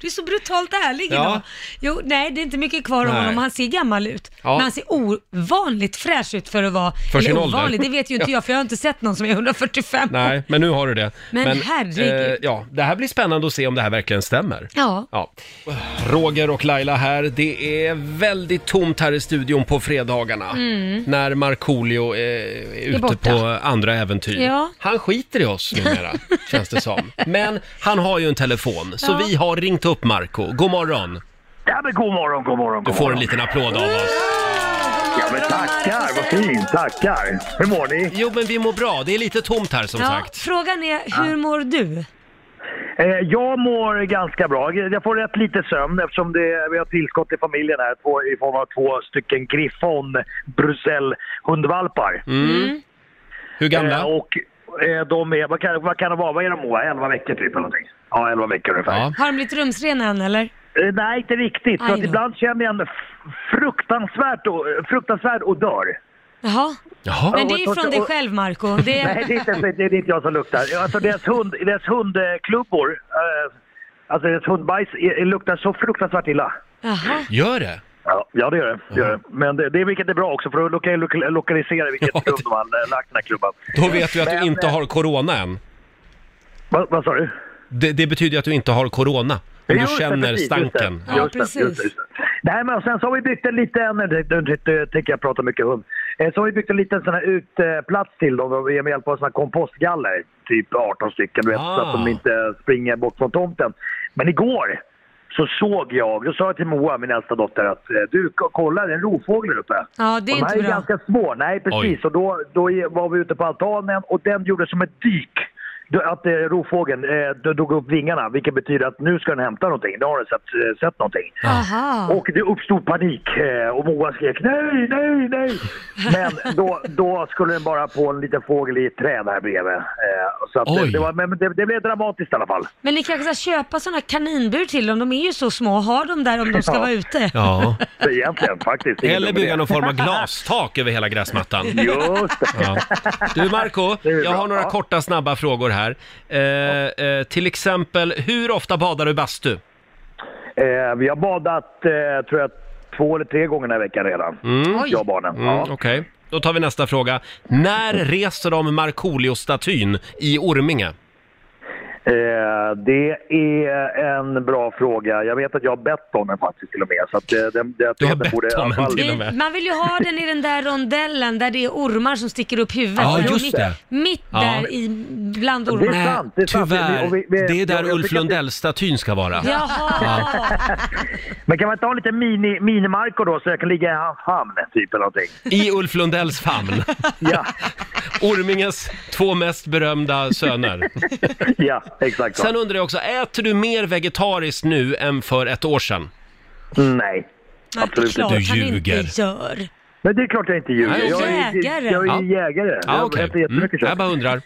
S3: du är så brutalt ärlig
S1: Ja.
S3: idag. Jo, nej, det är inte mycket kvar av
S1: Nej.
S3: honom. Han ser gammal ut.
S1: Ja.
S3: Men han ser ovanligt fräsch ut för att vara...
S1: För sin
S3: eller
S1: ålder.
S3: ovanligt, det vet ju inte jag för jag har inte sett någon som är 145
S1: Nej, men nu har du det.
S3: Men herregud.
S1: ja, det här blir spännande att se om det här verkligen stämmer.
S3: Ja.
S1: Ja. Roger och Laila här. Det är väldigt tomt här i studion på fredagarna när Markoolio eh, är, är ute
S3: Mm. borta.
S1: på andra äventyr.
S3: Ja.
S1: Han skiter i oss numera, känns det som. Men han har ju en telefon, så vi har ringt upp Marco. God morgon!
S9: Ja, men god morgon, god morgon,
S1: Du
S9: god
S1: får en
S9: morgon.
S1: liten applåd av oss.
S9: Ja, men tackar, vad fint, tackar. Hur mår ni?
S1: Jo, men vi mår bra. Det är lite tomt här som
S3: Ja,
S1: sagt.
S3: frågan är, hur mår du?
S9: Eh, jag mår ganska bra. Jag får rätt lite sömn eftersom det, vi har tillskott i familjen här två, i form av två stycken Griffon Bruxelles hundvalpar.
S1: Hur
S9: Eh,
S1: gamla?
S9: och eh, de är, vad kan, vad kan det vara, vad är de Moa? 11 veckor typ eller någonting? Ja, 11 veckor ungefär.
S1: Ja.
S3: Har de blivit rumsrena än eller?
S9: Eh, Nej, inte riktigt.
S3: Aj
S9: Så att
S3: då.
S9: ibland känner jag en f- fruktansvärt, o- fruktansvärd odör.
S3: Jaha.
S1: Jaha.
S3: Men det är från dig själv Marco. Det är...
S9: Nej, det är, inte, det är inte jag som luktar. Alltså deras, hund, deras hundklubbor, eh, alltså deras hundbajs är, är- luktar så fruktansvärt illa.
S3: Jaha.
S1: Gör det?
S9: Ja, ja det gör det. det, gör det. Men det, det är vilket är bra också för då kan jag lo- lokalisera vilket
S1: Ja, det-
S9: klubb de har eh, lagt den här klubban.
S1: Då vet vi att du
S9: Men,
S1: inte
S9: eh,
S1: har corona än.
S9: Vad, vad sa du?
S1: Det, det betyder att du inte har corona. Om du
S9: Just det,
S1: känner
S9: precis, just det.
S1: stanken.
S3: Ja,
S9: Just det, just det,
S3: precis.
S9: just det. Nej, men sen så har vi byggt en liten, nu tänker jag prata mycket hund, Eh, så har vi byggt en liten sån här utplats till dem och vi- med hjälp av såna här kompostgaller, typ 18 stycken, du vet,
S1: Ah.
S9: så att de inte springer bort från tomten. Men igår så såg jag, då sa jag till Moa, min äldsta dotter, att eh, du k- kolla det är en rovfågel där uppe.
S3: Ja, det är
S9: Och de här
S3: inte bra.
S9: är ganska små, nej precis.
S1: Oj.
S9: Och då, då i- var vi ute på altanen och den gjorde som ett dyk. Då- Att eh, rovfågeln eh, då drog upp vingarna, vilket betyder att nu ska den hämta någonting. Då har den sett, eh, sett någonting.
S3: Aha.
S9: Och det uppstod panik eh, och Moa skrek nej, nej, nej. Men då, då skulle den bara på en liten fågel i ett träd här bredvid. Eh, så att
S1: Oj.
S9: det, det, var, men det, det blev dramatiskt i alla fall.
S3: Men ni kanske ska köpa sådana kaninbur till dem. De är ju så små. Ha dem där om de ska
S9: Ja.
S3: vara ute.
S1: Ja.
S9: Så egentligen faktiskt. ingen
S1: Eller
S9: dum idé.
S1: bygga någon form av glastak över hela gräsmattan.
S9: Just det.
S1: Ja. Du Marco, jag
S9: är bra.
S1: har några
S9: Ja.
S1: korta snabba frågor här. Eh, eh, till exempel, hur ofta badar du i bastu?
S9: Eh, vi har badat, eh, tror jag, två eller tre gånger den här veckan redan. Jag och barnen.
S1: Mm,
S9: ja. Mm.
S1: Okej, då tar vi nästa fråga. När reser de Markoolio-statyn i Orminge?
S9: Eh, det är en bra fråga. Jag vet att jag har bett om den faktiskt till och med. Så att, eh, den, den,
S1: Du har
S9: den
S1: bett
S9: borde i
S1: om
S9: alla
S1: den
S9: fall-
S1: till och
S3: Det,
S1: med.
S3: man vill ju ha den i den där rondellen där det är ormar som sticker upp huvudet.
S1: Ja,
S3: Och
S1: just
S3: mitt,
S1: det.
S3: Mitt
S1: Ja.
S3: där i, bland
S9: Det
S3: ormarna.
S9: är sant, det är sant.
S1: Eh, Tyvärr,
S9: Och vi- vi-
S1: det är där
S9: jag- jag
S1: Ulf
S9: tycker att det-
S1: Lundell-statyn ska vara.
S3: Jaha!
S9: Men kan man inte ha lite mini, mini-Marco då så jag kan ligga i hans famn typ eller någonting?
S1: I Ulf Lundells famn.
S9: Ja,
S1: Orminges två mest berömda söner.
S9: ja exakt. så.
S1: Sen undrar jag också, äter du mer vegetariskt nu än för ett år sedan?
S9: Nej.
S3: Nej, det är
S9: Absolut
S3: klart
S1: Du
S3: han
S1: ljuger.
S3: inte gör.
S9: Men det är klart jag inte ljuger.
S1: Nej,
S9: jag är
S3: jägare.
S9: Jag är ju jägare.
S1: Ja,
S9: jag
S1: okej.
S9: äter
S1: Mm,
S9: jättemycket
S1: jag
S9: kött.
S1: bara undrar.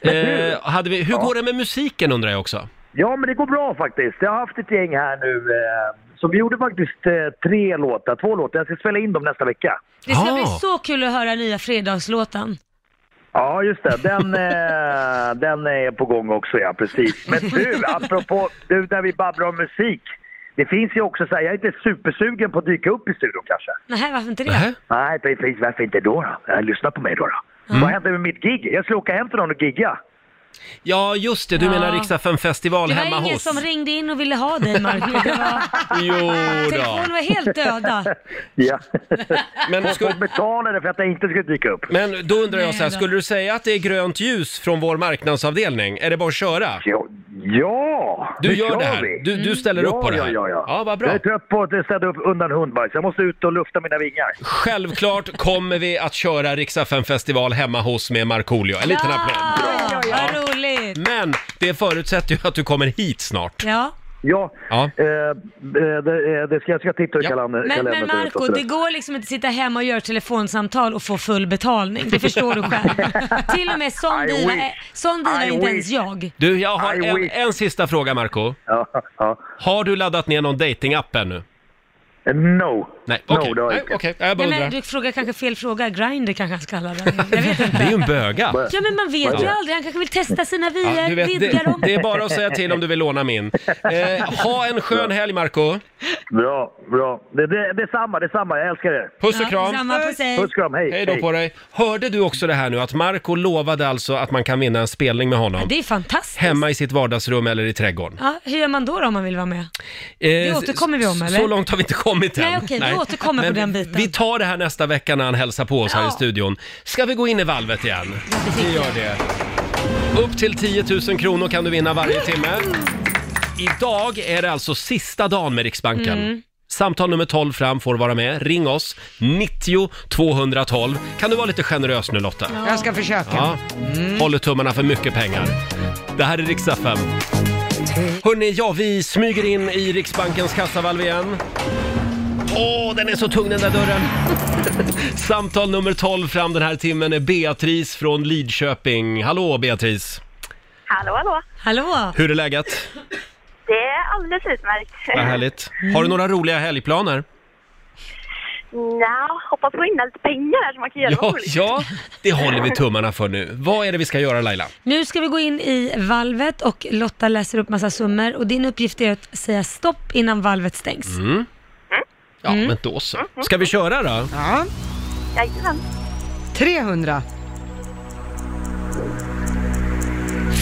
S1: Eh, hade vi, hur går det med musiken undrar jag också?
S9: Ja, men det går bra faktiskt. Jag har haft ett gäng här nu. Eh, så vi gjorde faktiskt eh, tre låtar, två låtar. Jag ska spela in dem nästa vecka.
S3: Det ska
S1: Ah.
S3: bli så kul att höra nya fredagslåten.
S9: Ja, just det. Den, eh, den är på gång också, ja. Precis. Men du, apropå du, när vi babblar om musik. Det finns ju också så här, jag är inte supersugen på att dyka upp i studion kanske.
S3: Nej, varför inte det?
S1: Nähä?
S9: Nej, precis. Varför inte då? då? Eh, Lyssna på mig då. då. Vad hände med mitt gig? Jag skulle åka hem till någon och gigga.
S1: Ja, just det. Du
S3: Ja.
S1: menar riksdagen festival
S3: Det var
S1: hemma
S3: ingen
S1: hos?
S3: som ringde in och ville ha dig Marco. Det var...
S1: Jo då.
S3: Telefonen var helt döda.
S9: Ja.
S1: Men,
S9: Och
S1: skulle,
S9: betalade för att jag inte skulle dyka upp.
S1: men då undrar jag
S3: Nej
S1: så här,
S3: då.
S1: skulle du säga att det är grönt ljus från vår marknadsavdelning? Är det bara att köra?
S9: Ja! ja
S1: Du
S9: nu
S1: gör
S9: kör
S1: det här.
S9: vi.
S1: Du, du ställer
S9: ja,
S1: upp på det här.
S9: Ja, ja,
S1: ja vad
S9: Jag
S1: bra.
S9: är trött på att städa upp undan hundbajs. Jag måste ut och lufta mina vingar.
S1: Självklart kommer vi att köra riksdagen festival hemma hos med Markoolio. En liten applåd.
S3: Ja, Ah, vad roligt.
S1: Men det förutsätter ju att du kommer hit snart.
S3: Ja.
S9: Ja,
S1: Ja.
S9: eh, eh, det, eh, det ska, jag ska titta i
S1: Ja.
S9: kalendern.
S3: Men,
S9: kalendern
S3: men Marco, det går liksom inte att sitta hemma och göra telefonsamtal och få full betalning. Det förstår du själv. Till och med sån
S9: I
S3: diva,
S9: wish.
S3: är- sån diva är
S9: I
S3: inte
S9: wish.
S3: ens jag.
S1: Du, jag har
S9: I
S1: en,
S9: wish.
S1: en sista fråga Marco.
S9: Ja, ja. Eh,
S1: Har du laddat ner någon datingapp ännu?
S9: No.
S1: Nej, okej.
S9: no, det har jag
S1: Nej,
S9: inte.
S1: okej. Jag bara
S3: Nej,
S1: undrar.
S3: men du frågar kanske fel fråga. Grindr kanske han ska kalla den. Jag vet
S1: Det är
S3: inte.
S1: ju en böga.
S3: Ja men man vet ju aldrig, han kanske vill testa sina
S1: Ja,
S3: vyer,
S1: du vet,
S3: vidga
S1: det,
S3: dem.
S1: det är bara att säga till om du vill låna min. Eh, ha en skön helg Marco.
S9: Bra, bra. Det, det, det är samma, det är samma. Jag älskar er.
S1: Puss och
S3: Ja,
S1: kram.
S3: samma på sig.
S9: Puss kram, hej.
S1: Hej då på dig. Hörde du också det här nu att Marco lovade alltså att man kan vinna en spelning med honom?
S3: Det är fantastiskt.
S1: Hemma i sitt vardagsrum eller i trädgården.
S3: Ja, hur gör man då, då om man vill vara med?
S1: Eh,
S3: Det återkommer vi om,
S1: s-
S3: eller?
S1: Så långt har vi inte kommit än.
S3: Nej, okej, vi återkommer på den biten.
S1: Vi tar det här nästa vecka när han hälsar på oss här i
S3: Ja.
S1: studion. Ska vi gå in i valvet igen?
S3: det
S1: vi
S3: tycker
S1: gör det. Upp till 10 000 kronor kan du vinna varje timme. Idag är det alltså sista dagen med Riksbanken.
S3: Mm.
S1: Samtal nummer 12 fram får vara med. Ring oss, 90 212. Kan du vara lite generös nu Lotta?
S2: Jag ska försöka.
S1: Ja. Håller tummarna för mycket pengar. Det här är Riksaffären. Hörni, ja, vi smyger in i Riksbankens kassavalv igen. Åh, den är så tung den där dörren! Samtal nummer 12 fram den här timmen är Beatrice från Lidköping. Hallå Beatrice!
S6: Hallå, hallå.
S3: Hallå?
S1: Hur är läget?
S6: Det är alldeles utmärkt.
S1: Vad härligt. Har du några roliga helgplaner?
S6: Nja, hoppas på att vinna lite pengar här så man kan göra
S1: Ja,
S6: något roligt.
S1: ja, det håller vi tummarna för nu. Vad är det vi ska göra Laila?
S3: Nu ska vi gå in i valvet och Lotta läser upp massa summor och din uppgift är att säga stopp innan valvet stängs.
S1: Ja, men då så. Ska vi köra då?
S2: Ja.
S6: Jajamän.
S2: 300.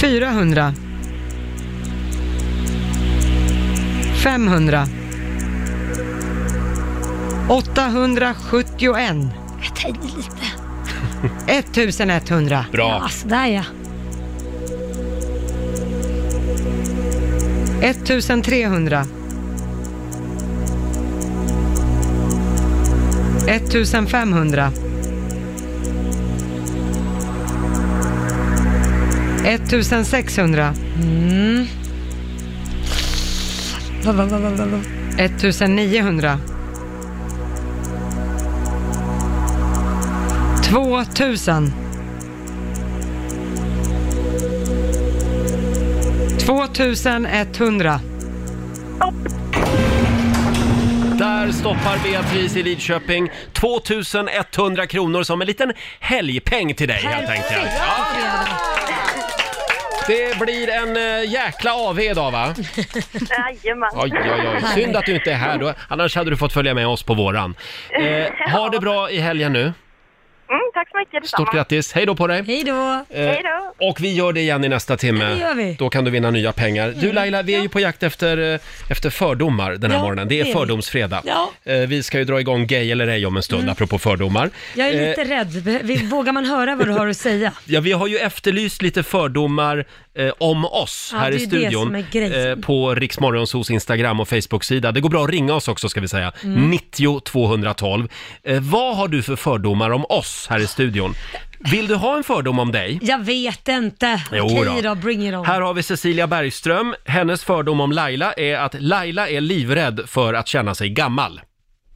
S2: 400. 500. 871.
S3: Jag tänkte lite.
S2: 1100.
S1: Bra.
S3: Ja, sådär ja.
S2: 1300. 1500. 1600.
S3: Va, va, va, va, va, va.
S2: 1900. 2000. 2100.
S1: Där stoppar Beatrice i Lidköping 2100 kronor som en liten helgpeng till dig helt enkelt. Ja. Det blir en eh, jäkla AV idag va?
S6: Jajamän.
S1: Oj, oj, oj. Synd att du inte är här då, annars hade du fått följa med oss på våran. Eh, ha det bra i helgen nu.
S6: Mm, tack så mycket.
S1: Stort grattis, hej då på dig!
S3: Hej då.
S6: Hej då.
S1: Eh, Och vi gör det igen i nästa timme.
S3: Ja, det gör vi. Mm.
S1: Då kan du vinna nya pengar. Du Laila, vi är ju på jakt efter, eh, efter fördomar den här
S3: Ja,
S1: morgonen. Det är
S3: det är vi.
S1: fördomsfredag.
S3: Ja. Mm.
S1: Eh, Vi ska ju dra igång gay eller ej om en stund, apropå fördomar.
S3: Jag är
S1: Eh,
S3: lite rädd. Vi- Vågar man höra vad du har att säga?
S1: Ja, vi har ju efterlyst lite fördomar eh, om oss
S3: Ja,
S1: här i
S3: det är ju det
S1: studion eh,
S3: som är grejen.
S1: på Riksmorgonsos Instagram och Facebook-sida. Det går bra att ringa oss också ska vi säga.
S3: Mm.
S1: 90 212. Eh, vad har du för fördomar om oss här i studion? Vill du ha en fördom om dig?
S3: Jag vet inte.
S1: Jo
S3: Okej
S1: då.
S3: då, bring it on.
S1: Här har vi Cecilia Bergström. Hennes fördom om Laila är att Laila är livrädd för att känna sig gammal.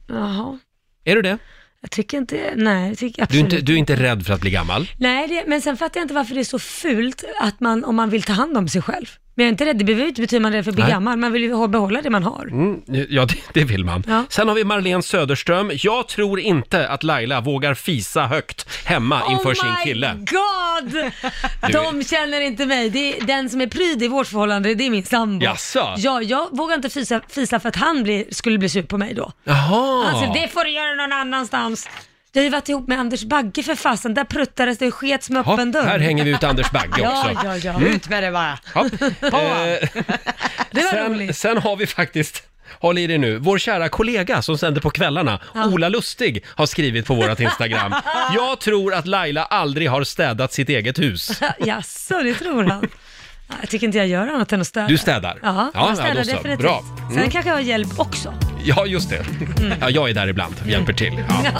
S3: Jaha.
S1: Är du det?
S3: Jag tycker inte, nej, jag tycker
S1: Du är
S3: absolut
S1: inte, du är inte rädd för att bli gammal?
S3: Nej, det, men sen fattar jag inte varför det är så fult att man, om man vill ta hand om sig själv. Men jag är inte rädd, det behöver ju inte betyda att man är rädd för att bli
S1: Nej.
S3: gammal, man vill ju ha- behålla det man har.
S1: Mm, ja, det, det vill man.
S3: Ja.
S1: Sen har vi Marlene Söderström. Jag tror inte att Laila vågar fisa högt hemma inför sin
S3: Oh
S1: kille.
S3: my god! De känner inte mig. Det är, den som är pryd i vårt förhållande, det är min sambo.
S1: Jaså?
S3: Ja, jag vågar inte fisa, fisa för att han blir, skulle bli sur på mig då.
S1: Jaha!
S3: Alltså det får du göra någon annanstans. Jag har ju varit ihop med Anders Bagge för fasen, där pruttades det och skets med
S1: Hopp,
S3: öppen dörr.
S1: här hänger vi ut Anders Bagge också. Mm.
S3: Ja, ja, ja.
S2: Ut med det bara.
S1: Hopp. Eh,
S3: Det var
S1: sen,
S3: roligt.
S1: sen har vi faktiskt Håll i dig nu. Vår kära kollega som sänder på kvällarna, Ola Lustig, har skrivit på vårat Instagram. Jag tror att Laila aldrig har städat sitt eget hus.
S3: Jaså, det tror han? Ja, Jag tycker inte jag gör annat än att städa.
S1: Du städar?
S3: Ja, jag städar
S1: då så.
S3: definitivt.
S1: Bra. Mm.
S3: Sen kanske jag har hjälp också.
S1: Ja, just det.
S3: Mm.
S1: Ja, jag är där ibland och hjälper till. Ja.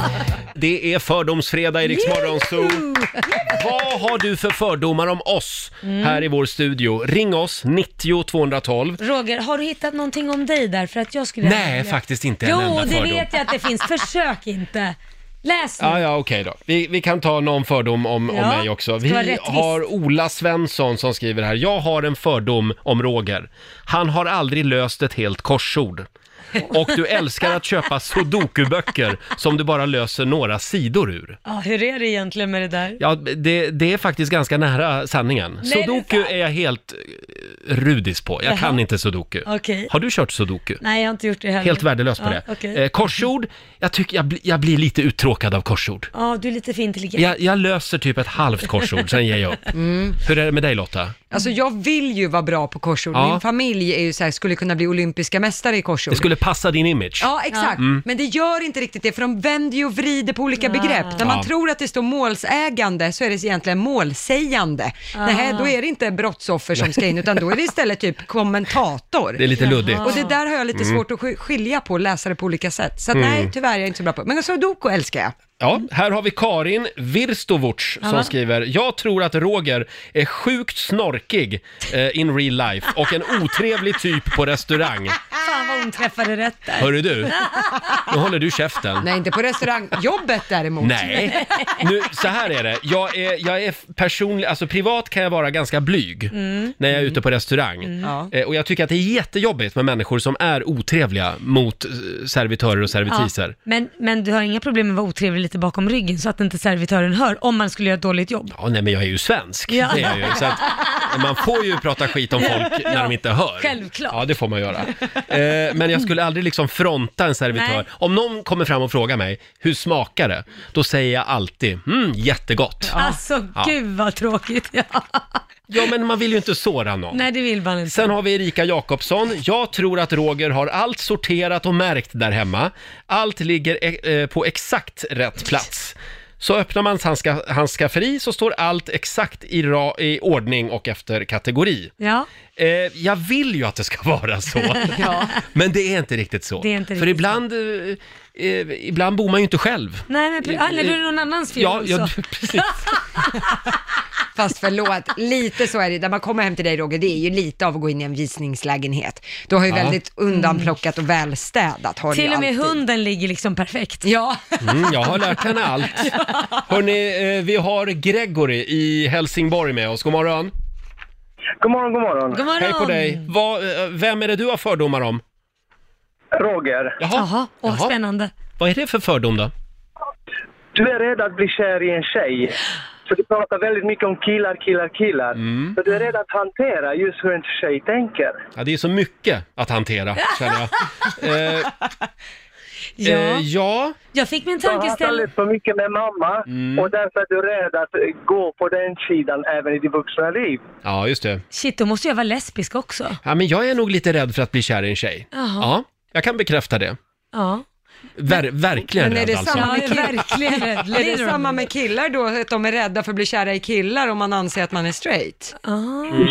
S1: Det är fördomsfredag i Rix Morgon Zoo. Vad har du för fördomar om oss
S3: Mm.
S1: här i vår studio? Ring oss, 90 212.
S3: Roger, har du hittat någonting om dig där? För att jag skulle
S1: Nej, faktiskt inte en
S3: Jo,
S1: enda
S3: det
S1: fördom.
S3: vet jag att det finns. Försök inte. Läs nu.
S1: Ja, ja, okej då. Vi, vi kan ta någon fördom om, om
S3: Ja,
S1: mig också.
S3: ska vara
S1: Vi
S3: rättvist.
S1: har Ola Svensson som skriver här. Jag har en fördom om Roger. Han har aldrig löst ett helt korsord. Och du älskar att köpa sudoku-böcker som du bara löser några sidor ur.
S3: Ja, hur är det egentligen med det där?
S1: Ja, det, det är faktiskt ganska nära sanningen.
S3: det är
S1: sudoku är jag helt eh, rudis på. Jag kan
S3: Jaha.
S1: inte sudoku.
S3: Okej.
S1: Har du kört sudoku?
S3: Nej, jag har inte gjort det heller.
S1: Helt värdelös på
S3: ja,
S1: det.
S3: okej.
S1: Eh, korsord, jag, tycker jag, bli, jag blir lite uttråkad av korsord.
S3: Ja, Mm. du är lite för intelligent.
S1: Jag, jag löser typ ett halvt korsord, sen ger jag upp. Hur är det med dig Lotta?
S2: Alltså jag vill ju vara bra på korsord.
S1: Ja.
S2: Min familj är ju så här, skulle kunna bli olympiska mästare i korsord.
S1: Det skulle passa din image.
S2: Ja, exakt. Men det gör inte riktigt det, för de vänder ju och vrider på olika begrepp. När man
S1: Ja.
S2: tror att det står målsägande så är det egentligen målsägande. Nej, då är det inte brottsoffer som ska in, utan då är det istället typ kommentator.
S1: Det är lite Mm. luddigt.
S2: Och det
S1: Mm.
S2: där har jag lite svårt att sk- skilja på, läsa det på olika sätt. Så att, nej, tyvärr är jag inte så bra på. Men sudoku älskar jag.
S1: Ja, här har vi Karin Virstovuc som
S3: Ja.
S1: skriver “Jag tror att Roger är sjukt snorkig eh, in real life och en otrevlig typ på restaurang.
S3: Fan vad hon träffade rätt där.
S1: Hörru du, nu håller du käften.
S2: Nej, inte på restaurangjobbet däremot.
S1: Nej, nu, så här är det. Jag är, jag är personlig, alltså privat kan jag vara ganska blyg
S3: Mm.
S1: när jag är ute på restaurang.
S2: Ja.
S1: Eh, Och jag tycker att det är jättejobbigt med människor som är otrevliga mot eh, servitörer och
S3: Ja,
S1: servitriser.
S3: men, men du har inga problem med att vara otrevlig lite bakom ryggen så att inte servitören hör om man skulle göra ett dåligt jobb.
S1: Ja, nej men jag är ju svensk.
S3: Ja.
S1: Det är jag ju. Så att man får ju prata skit om folk när de inte hör.
S3: självklart.
S1: Ja, det får man göra. Eh, men jag skulle aldrig liksom fronta en servitör.
S3: Nej.
S1: Om någon kommer fram och frågar mig, hur smakar det? Då säger jag alltid, mm, jättegott. Ja.
S3: Alltså gud vad tråkigt. Ja.
S1: men man vill ju inte såra någon.
S3: Nej det vill man inte.
S1: Sen har vi Erika Jakobsson. Jag tror att Roger har allt sorterat och märkt där hemma. Allt ligger eh, eh, på exakt rätt plats. Så öppnar man hans, hans skafferi så står allt exakt i, ra, i ordning och efter kategori.
S3: Ja,
S1: Eh, jag vill ju att det ska vara så, men det är inte riktigt så.
S3: Det är inte
S1: För
S3: riktigt
S1: ibland, eh, eh, ibland bor man ju inte själv.
S3: nej men pre- ah, eller då är det någon annans fel
S1: Eh, Ja,
S3: också.
S1: ja, precis.
S2: Fast förlåt, lite så är det. När man kommer hem till dig Roger, det är ju lite av att gå in i en visningslägenhet. Du har ju
S1: Ja.
S2: väldigt undanplockat och välstädat. Har du
S3: Mm. Till
S2: ju
S3: och med
S2: alltid.
S3: hunden ligger liksom perfekt.
S2: Ja,
S1: Mm, jag har lärt henne allt. Hörni, eh, vi har Gregory i Helsingborg med oss. God morgon.
S9: God morgon, god morgon.
S3: God morgon.
S1: Hej på dig! Vad, eh, vem är det du har fördomar om?
S9: Roger,
S1: Jaha,
S3: Jaha, åh
S1: Jaha.
S3: spännande.
S1: vad är det för fördom då?
S9: du är rädd att bli kär i en tjej. Så du pratar väldigt mycket om killar, killar, killar.
S1: Mm.
S9: Så du är rädd att hantera just hur en tjej tänker.
S1: Ja, det är så mycket att hantera, känner jag. Eh,
S3: Ja,
S1: eh, ja,
S3: jag fick min
S9: Du har haft
S3: tankeställare.
S9: alldeles för mycket med mamma
S1: Mm.
S9: och därför är du rädd att eh, gå på den sidan även i ditt vuxna liv.
S1: ja, just det.
S3: Shit, då måste jag vara lesbisk också.
S1: Ja, men jag är nog lite rädd för att bli kär i en tjej.
S3: Jaha.
S1: Ja, jag kan bekräfta det.
S3: Ja,
S1: Ver verkligen
S2: Men är
S1: rädd
S2: det
S1: alltså.
S2: samma-
S3: ja jag är verkligen rädd.
S2: är det
S3: Literally.
S2: samma med killar då, att de är rädda för att bli kära i killar om man anser att man är straight?
S3: Ah.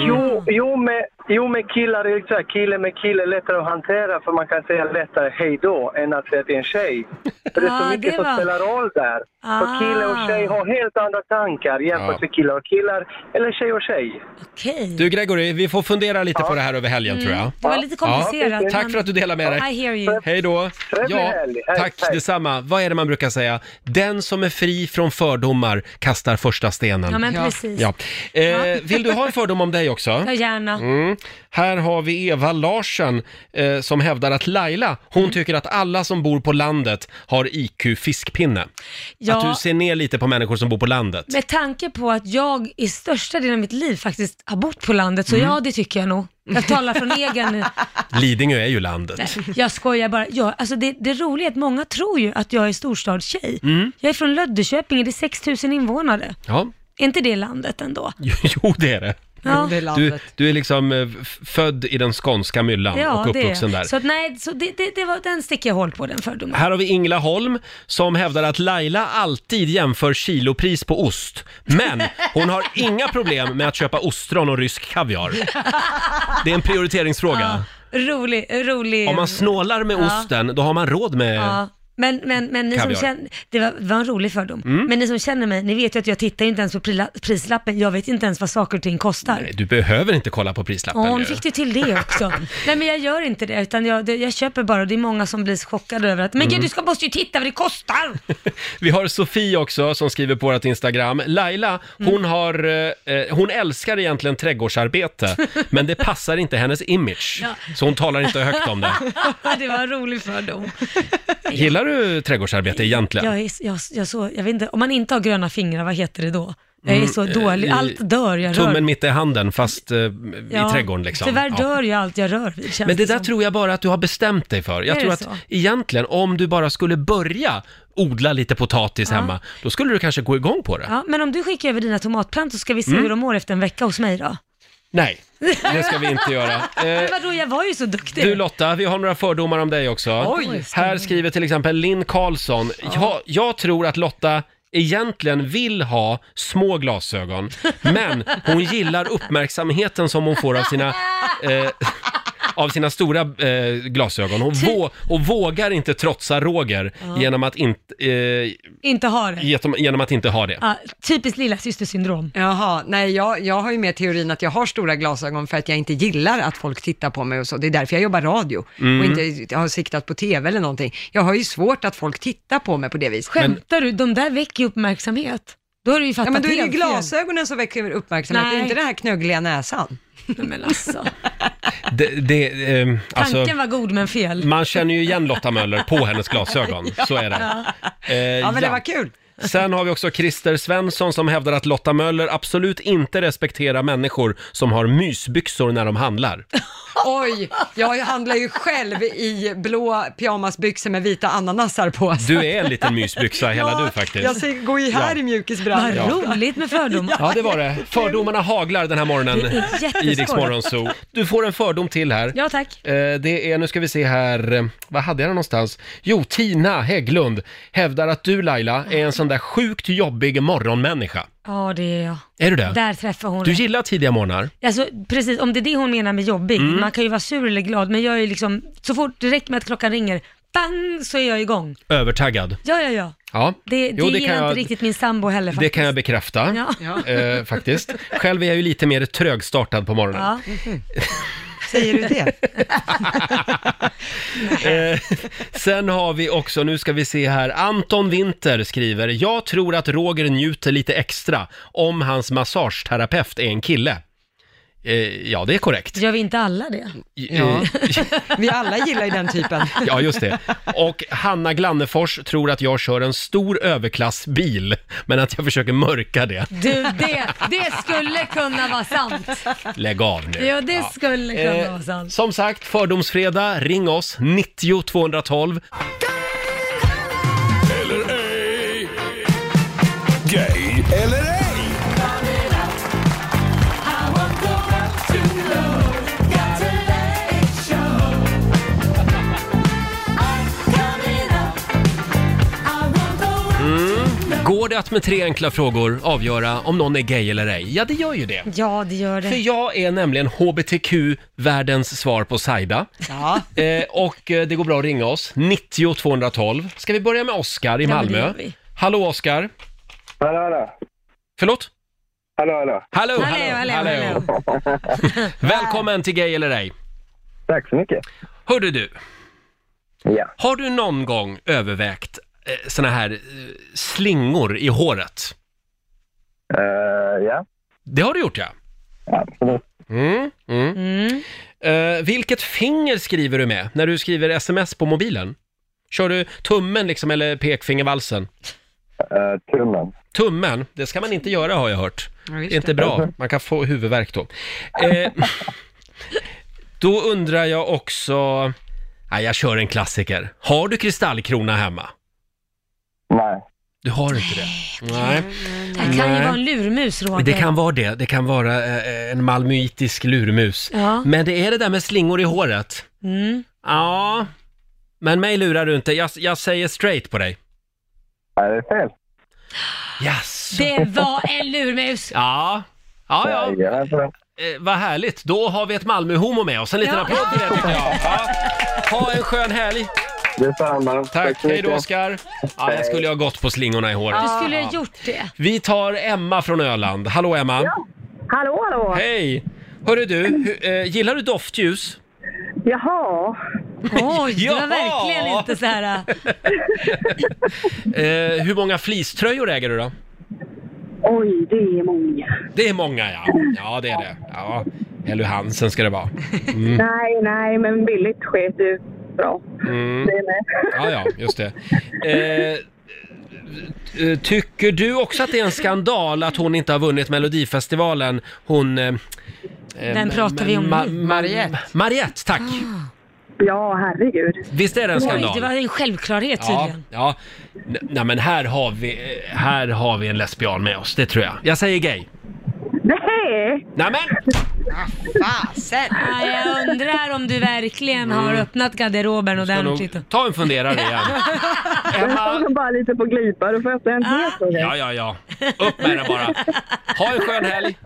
S9: Jo, jo, med, jo, med killar är det så här, kille med kille är lättare att hantera för man kan säga lättare hej då än att säga till en tjej. För det är så
S3: Ah,
S9: mycket
S3: det var-
S9: som spelar roll där.
S3: Ah.
S9: För kille och tjej har helt andra tankar jämfört
S1: Ja.
S9: med killar och killar eller tjej och tjej.
S3: Okej.
S1: Du Gregory, vi får fundera lite på det här över helgen tror jag.
S3: Det var lite Mm. komplicerat. Oh,
S1: Tack för att du delade med dig.
S3: I hear you.
S1: Hej då!
S9: Trevlig helg. Hej,
S1: tack
S9: hej.
S1: detsamma. Vad är det man brukar säga? Den som är fri från fördomar kastar första stenen.
S3: Ja, men
S2: Ja.
S3: precis.
S1: Ja. Eh, vill du ha en fördom om dig också?
S3: Ja, gärna.
S1: Mm. Här har vi Eva Larsen eh, som hävdar att Laila, hon
S3: Mm.
S1: tycker att alla som bor på landet har IQ fiskpinne. Att du
S3: Ja,
S1: ser ner lite på människor som bor på landet.
S3: med tanke på att jag i största delen av mitt liv faktiskt har bott på landet,
S1: Mm.
S3: så ja, det tycker jag nog. Jag talar från egen...
S1: Lidingö är ju landet.
S3: Jag skojar bara. Ja, alltså det, det roliga är att många tror ju att jag är storstadstjej.
S1: Mm.
S3: Jag är från Löddeköpinge, det är 6000 invånare.
S1: Ja,
S3: Är inte det landet ändå?
S1: jo det är det.
S3: Ja.
S2: Det är
S1: Du,
S2: landet.
S1: du är liksom eh, f- född i den skånska myllan och
S3: det är
S1: uppvuxen
S3: jag.
S1: där.
S3: Så, att nej, så det, det, det var, den sticker jag hål på, den fördomen.
S1: Här har vi Ingela Holm som hävdar att Laila alltid jämför kilopris på ost. Men hon har inga problem med att köpa ostron och rysk kaviar. Det är en prioriteringsfråga.
S3: Rolig, rolig.
S1: Om man snålar med osten, då har man råd med...
S3: ja. Men, men, men ni
S1: Kaviar. Mm.
S3: som känner, det var, det var en rolig fördom. Men ni som känner mig, ni vet ju att jag tittar ju inte ens på prila- prislappen. Jag vet inte ens vad saker och ting kostar.
S1: Nej, Du behöver inte kolla på prislappen
S3: Åh, nu
S1: ju.
S3: fick du till det också. Nej, men jag gör inte det, utan jag, det, jag köper bara. Det är många som blir chockade över att, men
S1: Mm.
S3: gud, du ska, måste ju titta vad det kostar!
S1: Vi har Sofie också som skriver på vårt Instagram. Laila, hon, har, eh, eh, hon älskar egentligen trädgårdsarbete, men det passar inte hennes image. Så hon talar inte högt om det.
S3: Ja, det var en rolig fördom.
S1: Gillar du trädgårdsarbete egentligen?
S3: Jag, är, jag, jag, så, jag vet inte, om man inte har gröna fingrar, vad heter det då? Jag är så dålig,
S1: Mm, eh, i-
S3: allt dör jag rör.
S1: Tummen mitt i handen fast eh, i
S3: Ja,
S1: trädgården liksom.
S3: Tyvärr
S1: Ja.
S3: dör ju allt jag rör vid, känns
S1: Men det där
S3: som.
S1: tror jag bara att du har bestämt dig för. Jag
S3: Är
S1: tror
S3: det
S1: att
S3: så?
S1: egentligen om du bara skulle börja odla lite potatis hemma, då skulle du kanske gå igång på det.
S3: Ja, men om du skickar över dina tomatplantor så ska vi se
S1: Mm.
S3: hur de mår efter en vecka hos mig
S1: Eh,
S3: då.
S1: Nej, det ska vi inte göra. Eh,
S3: Men vadå, jag var ju så duktig.
S1: du Lotta, vi har några fördomar om dig också.
S3: Oj.
S1: Här skriver till exempel Linn Karlsson. Jag, jag tror att Lotta egentligen vill ha små glasögon, men hon gillar uppmärksamheten som hon får av sina eh, av sina stora eh, glasögon.
S2: Typ.
S1: Hon vå, och vågar inte trotsa Roger genom, att inte, eh,
S3: Inte har det.
S1: genom, genom att inte ha det.
S3: Ja, typiskt lilla systersyndrom.
S2: Jaha, nej jag, jag har ju med teorin att jag har stora glasögon för att jag inte gillar att folk tittar på mig och så. Det är därför jag jobbar radio och
S3: Mm.
S2: inte har siktat på tv eller någonting. Jag har ju svårt att folk tittar på mig på det viset.
S3: Skämtar du? De där väcker ju uppmärksamhet. Då har du ju fattat
S2: Ja, men då är det ju
S3: helt fel.
S2: glasögonen som väcker uppmärksamhet, det är
S3: Nej.
S2: inte den här knöggliga näsan.
S3: Nej, Men alltså.
S1: det, det eh, alltså,
S3: Tanken var god men fel.
S1: man känner ju igen Lotta Möller på hennes glasögon, så är det. Eh,
S2: Ja, men det var kul.
S1: Sen har vi också Christer Svensson som hävdar att Lotta Möller absolut inte respekterar människor som har mysbyxor när de handlar.
S2: Oj, jag handlar ju själv i blå pyjamasbyxor med vita ananasar på.
S1: Du är en liten mysbyxa hela du faktiskt.
S2: Jag ser, går ju här
S1: Ja.
S2: i
S3: Vad
S2: mjukisbrallor.
S3: roligt med fördomar.
S1: Ja, det var det. Fördomarna haglar den här morgonen
S3: Det är jätteskoj.
S1: i Rix Morgonzoo. Du får en fördom till här.
S3: Ja, tack.
S1: Eh, Det är, nu ska vi se här, eh, vad hade jag det någonstans? Jo, Tina Hägglund hävdar att du Laila är en sån där sjukt jobbig morgonmänniska.
S3: Ja, det är jag.
S1: Är du det?
S3: Där träffar hon
S1: Du
S3: rätt.
S1: gillar tidiga morgnar?
S3: Alltså, precis, om det är det hon menar med jobbig.
S1: Mm.
S3: Man kan ju vara sur eller glad, men jag är ju liksom, så fort det räcker med att klockan ringer, bang, så är jag igång.
S1: Övertaggad?
S3: Ja, ja, ja.
S1: Ja,
S3: Det,
S1: Jo,
S3: det gillar inte riktigt min sambo heller
S1: Det
S3: faktiskt.
S1: kan jag bekräfta.
S3: Ja.
S1: Eh, faktiskt. Själv är jag ju lite mer trögstartad på morgonen.
S3: Ja.
S2: Säger du det?
S1: Eh, sen har vi också, nu ska vi se här, Anton Winter skriver, jag tror att Roger njuter lite extra om hans massageterapeut är en kille. Eh, ja, det är korrekt.
S3: Gör vi inte alla det?
S1: Eh,
S2: Vi alla gillar ju den typen.
S1: ja, just det. Och Hanna Glannefors tror att jag kör en stor överklassbil, men att jag försöker mörka det.
S3: Du, det, det skulle kunna vara sant.
S1: Lägg av nu.
S3: Ja, det skulle kunna
S1: Eh,
S3: vara sant.
S1: som sagt, Fördomsfredag, ring oss, 90 212.
S4: Eller ej. Gay eller ej.
S1: Går det att med tre enkla frågor avgöra om någon är gay eller ej? Ja, det gör ju det.
S3: Ja, det gör
S1: För
S3: det.
S1: jag är nämligen HBTQ-världens svar på Saida.
S2: Ja.
S1: Eh, och eh, det går bra att ringa oss, 90 212. Ska vi börja med Oskar i
S3: Ja, men det
S1: Malmö?
S3: gör vi.
S1: Hallå Oskar!
S9: Hallå, hallå.
S1: Förlåt?
S9: Hallå, hallå.
S1: Hallå,
S3: Hallå, hallå, hallå.
S1: Välkommen till Gay eller ej!
S9: Tack så mycket.
S1: Hörru du,
S9: Ja.
S1: har du någon gång övervägt eh, såna här eh, slingor i håret?
S9: Eh, ja.
S1: Det har du gjort ja.
S9: Absolut.
S1: Mm, mm.
S3: Mm.
S1: Eh, vilket finger skriver du med när du skriver sms på mobilen? Kör du tummen liksom eller pekfingervalsen?
S9: Eh, tummen.
S1: Tummen, det ska man inte göra har jag hört.
S2: Ja, just
S1: Det är inte bra, man kan få huvudvärk då. Eh, då undrar jag också... Nej, jag kör en klassiker. Har du kristallkrona hemma?
S9: Nej.
S1: Du har inte det? Nej.
S3: Det kan
S1: Nej.
S3: ju vara en lurmus, Roger.
S1: Det kan vara det. Det kan vara eh, en malmöitisk lurmus.
S3: Ja.
S1: Men det är det där med slingor i håret.
S3: Mm.
S1: Ja, men mig lurar du inte. Jag, jag säger straight på dig.
S9: Nej, det är fel.
S1: Yes.
S3: Det var en lurmus.
S1: Ja. Ja, ja.
S9: Jajamensan.
S1: Eh, vad härligt. Då har vi ett Malmöhomo med oss. En liten
S3: Ja.
S1: applåd för det tycker jag. Ja. Ha en skön helg.
S9: Detsamma.
S1: Tack.
S9: så
S1: Hej då
S9: mycket.
S1: Oskar. Ja, jag skulle ju ha gått på slingorna i håret.
S3: Du skulle ha gjort det.
S1: Vi tar Emma från Öland. Hallå Emma.
S6: Hallå, hallå.
S1: Hej. Hörru du, hu- eh, gillar du doftljus?
S6: Jaha.
S3: Oj, det
S1: Ja.
S3: var verkligen inte så här... äh,
S1: Eh, hur många fleecetröjor äger du då?
S6: Oj, det är många.
S1: Det är många ja. Ja, det är det. Ja. Helly Hansen ska det vara.
S6: Nej, nej, men billigt sket du bra.
S1: Mm.
S6: Det är med.
S1: Ja, ja, just det. Eh, eh, tycker du också att det är en skandal att hon inte har vunnit Melodifestivalen? Hon... Eh,
S3: Vem pratar vi om nu? Ah.
S1: Mariette. Mariette, tack!
S6: Ja, herregud.
S1: Visst är det en
S3: Oj,
S1: skandal?
S3: det var en självklarhet
S1: Ja,
S3: tydligen.
S1: ja. N- Nej men här har, vi, eh, här har vi en lesbian med oss, det tror jag. Jag säger gay.
S6: Nej!
S1: Nej men!
S2: Fasen!
S3: Ja, jag undrar om du verkligen har öppnat garderoben
S1: Mm. Ska
S3: ordentligt.
S1: nog ta en funderare igen.
S6: Jag
S10: Emma,
S6: såg bara lite på glipa, då fattar jag
S1: Ah.
S6: inte helt okej.
S1: Ja, ja, ja. Upp med det bara. Ha en skön helg.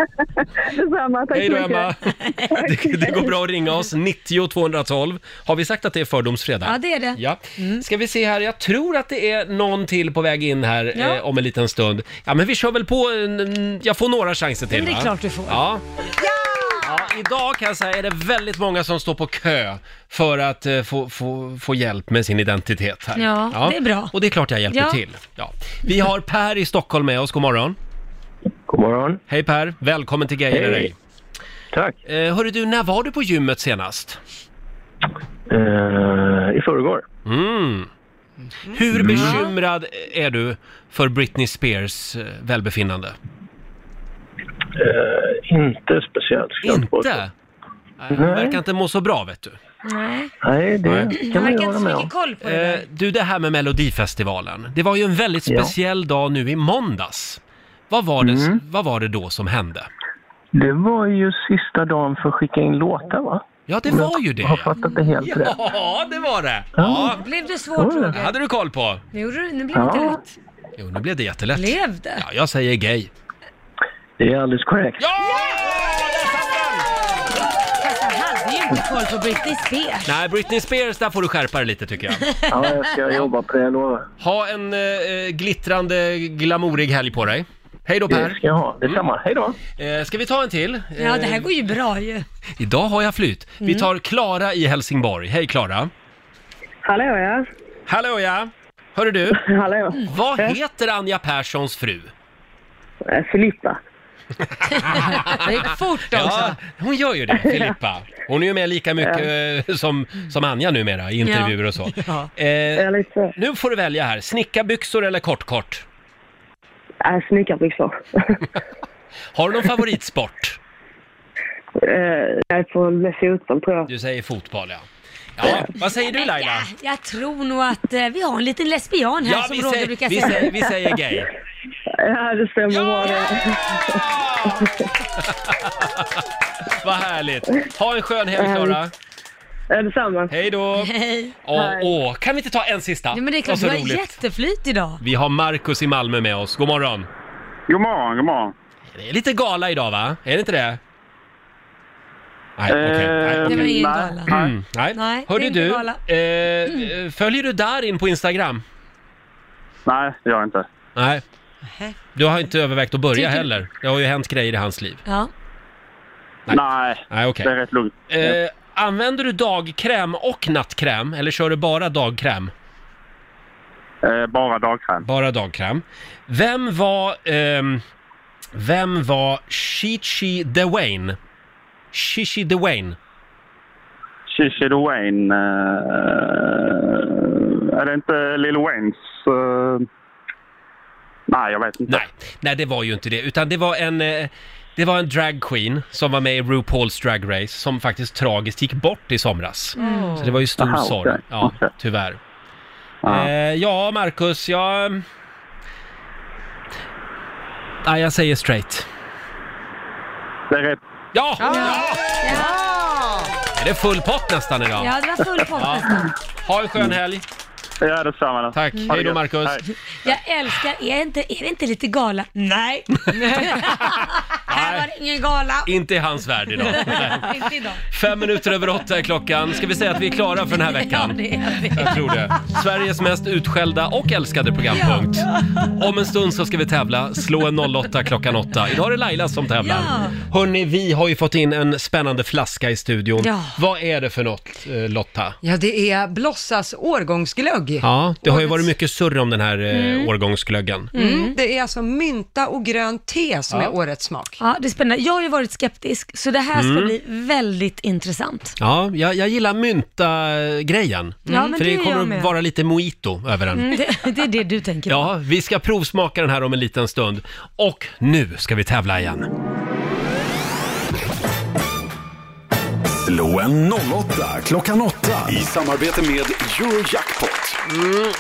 S6: Detsamma, tack
S1: Hej
S6: så
S1: då,
S6: mycket.
S1: Emma. Det, det går bra att ringa oss, 90 212. Har vi sagt att det är fördomsfredag?
S3: Ja, det Mm. är det.
S1: Ja. Ska vi se här, jag tror att det är någon till på väg in här
S3: Ja.
S1: eh, om en liten stund. Ja, men vi kör väl på, en- en- jag får några chanser till
S3: Men det är
S1: va?
S3: klart du får.
S1: Ja. Ja, idag kan jag säga är det väldigt många som står på kö för att eh, få, få, få hjälp med sin identitet här.
S3: Ja, det är bra.
S1: Och det är klart jag hjälper
S3: Ja.
S1: till. Ja. Vi har Per i Stockholm med oss, god morgon.
S10: god morgon.
S1: Hej Per, välkommen till Gaia
S10: Hej.
S1: Dig.
S10: Tack.
S1: Eh, hörru du, när var du på gymmet senast?
S10: Eh, I förrgår.
S1: Mm. Hur bekymrad är du för Britney Spears eh, välbefinnande?
S10: Eh, inte speciellt. ska jag påstå.
S1: Inte? Nej, Hon verkar inte må så bra vet du.
S3: Nej,
S10: Nej, det
S3: han
S10: kan man ju
S3: verkar inte
S10: hålla
S3: så
S10: med
S3: mycket
S10: om.
S3: koll på det
S1: Eh,
S3: där.
S1: du, det här med Melodifestivalen. Det var ju en väldigt
S10: Ja.
S1: speciell dag nu i måndags. Vad var, det, vad var det då som hände?
S10: Det var ju sista dagen för att skicka in låtar, va?
S1: Ja, det var ju
S10: Jag har
S1: det.
S10: fattat det helt rätt.
S1: Ja, det var det. Ja,
S3: Blev det svårt
S1: det
S3: Roger?
S1: hade du koll på.
S3: Nu, gjorde du- nu blev det
S10: Ja.
S3: inte rätt.
S1: Jo, nu blev det jättelätt.
S3: Blev det?
S1: Ja, jag säger gay.
S10: Det är alldeles korrekt.
S1: Ja! Där satt den!
S3: Fast han hade ju inte koll på Britney Spears.
S1: Nej, Britney Spears, där får du skärpa dig lite tycker jag.
S10: Ja, jag ska jobba på det, jag lovar.
S1: Ha en eh, glittrande, glamourig helg på dig. Hej då
S10: Det
S1: Per!
S10: ska jag ha. Detsamma. Hej då.
S1: Eh, ska vi ta en till? Eh,
S3: Ja, det här går ju bra ju.
S1: Idag har jag flyt. Vi tar Klara i Helsingborg. Hej Klara!
S6: Hallå ja.
S1: Hallå ja! Hörru du,
S6: Hallå ja.
S1: vad heter Anja Perssons fru?
S6: Eh, Filippa.
S3: Det gick fort också.
S1: Ja, hon gör ju det, Filippa. Hon är ju med lika mycket eh, som, som Anja numera i intervjuer och så. Eh,
S6: Jag är lite...
S1: nu får du välja här, snickarbyxor eller kortkort?
S6: Äh, Snickarbyxor.
S1: Har du någon favoritsport?
S6: Eh, Jag är på med fotboll tror jag.
S1: Du säger fotboll ja. Ja, vad säger du Laila?
S3: Ja, jag tror nog att eh, vi har en liten lesbian här
S1: Ja,
S3: som
S1: vi
S3: Roger
S1: säger,
S3: brukar
S1: vi,
S3: säga.
S1: säger, vi säger gay.
S6: Ja, det stämmer bra det.
S1: Vad härligt. Ha en skön helg Klara.
S6: Eh, Detsamma.
S1: Hej då.
S3: Hej.
S1: Åh, åh. Kan vi inte ta en sista?
S3: Ja, men det är
S1: Vad
S3: klart,
S1: så
S3: du har
S1: roligt.
S3: jätteflyt idag.
S1: Vi har Markus i Malmö med oss. God morgon.
S9: God morgon, god morgon.
S1: Det är lite gala idag va? Är det inte det? Nej, okej. Nej,
S9: Eh,
S3: Det
S1: okej.
S3: var ingen
S9: nej.
S3: gala.
S1: Mm, nej.
S3: Nej,
S1: Hörde
S3: det är inte
S1: du,
S3: gala.
S1: eh, följer du Darin på Instagram?
S9: Nej, det gör jag inte.
S1: Nej.
S2: Nej.
S1: Du har inte övervägt att börja
S3: Tycker-
S1: heller? Det har ju hänt grejer i hans liv.
S3: Ja.
S1: Nej.
S9: Nej,
S1: Nej, okej.
S9: det är rätt lugnt.
S1: Eh, använder du dagkräm och nattkräm eller kör du bara dagkräm?
S9: Eh, bara dagkräm.
S1: Bara dagkräm. Vem var... ehm, vem var Chichi DeWayne? Chichi DeWayne.
S9: Shishi the Wayne. Eh, är det inte Lil Waynes? Eh, nej, jag vet inte.
S1: Nej, nej det var ju inte det. Utan det var en... Eh, det var en drag queen som var med i RuPaul's Drag Race som faktiskt tragiskt gick bort i somras. Så det var ju stor
S9: Mm. Aha, okej.
S1: sorg. Ja,
S9: Okej.
S1: tyvärr.
S9: Ja.
S1: Eh, ja, Marcus, jag... Nej, jag säger straight.
S9: Det är rätt.
S1: Ja!
S3: Ja.
S1: Är det full pott nästan idag?
S3: ja, det var full pott nästan.
S1: Ha en skön helg.
S9: Ja, detsamma. då.
S1: Tack.
S3: Mm.
S9: Ha det
S1: Hej då
S9: gött.
S1: Marcus.
S9: Hej.
S3: Jag älskar, är, inte, är det inte lite gala? Nej. här var det ingen gala.
S1: Inte i hans värld idag.
S3: Inte idag.
S1: Fem minuter över åtta är klockan. Ska vi säga att vi är klara för den här
S3: Ja,
S1: veckan?
S3: det är det.
S1: Jag tror det. Sveriges mest utskällda och älskade programpunkt. Om en stund så ska vi tävla. Slå en 08 klockan 8. Idag är det Laila som tävlar.
S3: Ja.
S1: Hörni, vi har ju fått in en spännande flaska i studion.
S3: Ja.
S1: Vad är det för något, eh, Lotta?
S2: Ja, det är Blossas årgångsglögg.
S1: Ja, det har ju varit mycket surr om den här eh, årgångsglöggen.
S2: Mm. Det är alltså mynta och grönt te som är årets smak.
S3: Ja, det är spännande. Jag har ju varit skeptisk, så det här ska
S1: Mm.
S3: bli väldigt intressant.
S1: Ja, jag, jag gillar mynta-grejen.
S3: Ja, men
S1: För det
S3: det är jag
S1: kommer
S3: med.
S1: att vara lite mojito över den.
S3: Mm, det, det är det du tänker på.
S1: Ja, vi ska provsmaka den här om en liten stund. Och nu ska vi tävla igen.
S4: Slå en 08 klockan 8 i samarbete med Eurojackpot.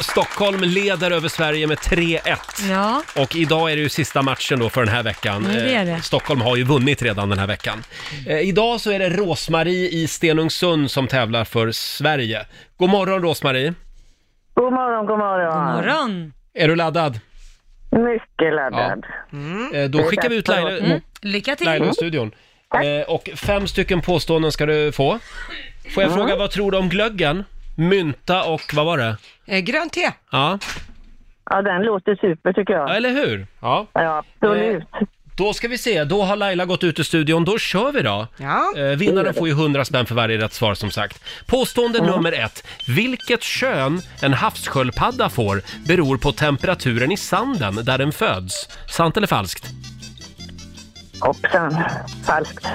S1: Stockholm leder över Sverige med 3-1.
S3: Ja.
S1: Och idag är det ju sista matchen då för den här veckan.
S3: Mm, det är det.
S1: Eh, Stockholm har ju vunnit redan den här veckan. Eh, idag så är det Rosmarie i Stenungsund som tävlar för Sverige. God morgon Rosmarie!
S11: God morgon, god morgon. God
S3: morgon.
S1: Är du laddad?
S11: Mycket laddad.
S1: Eh, Då skickar vi ut Laila,
S3: Mm. Lycka till.
S1: Laila i studion. Eh, och fem stycken påståenden ska du få. Får jag
S2: Mm.
S1: fråga, vad tror du om glöggen? Mynta och vad var det?
S2: Eh, grönt te.
S1: Ja,
S11: Ja, den låter super tycker jag.
S1: eller Eh. hur? Ja, absolut. Då ska vi se, då har Laila gått ut ur studion, då kör vi då. Eh, vinnaren får ju 100 spänn för varje rätt svar som sagt. Påstående nummer ett. Vilket kön en havssköldpadda får beror på temperaturen i sanden där den föds. Sant eller falskt?
S11: Hoppsan. Falskt.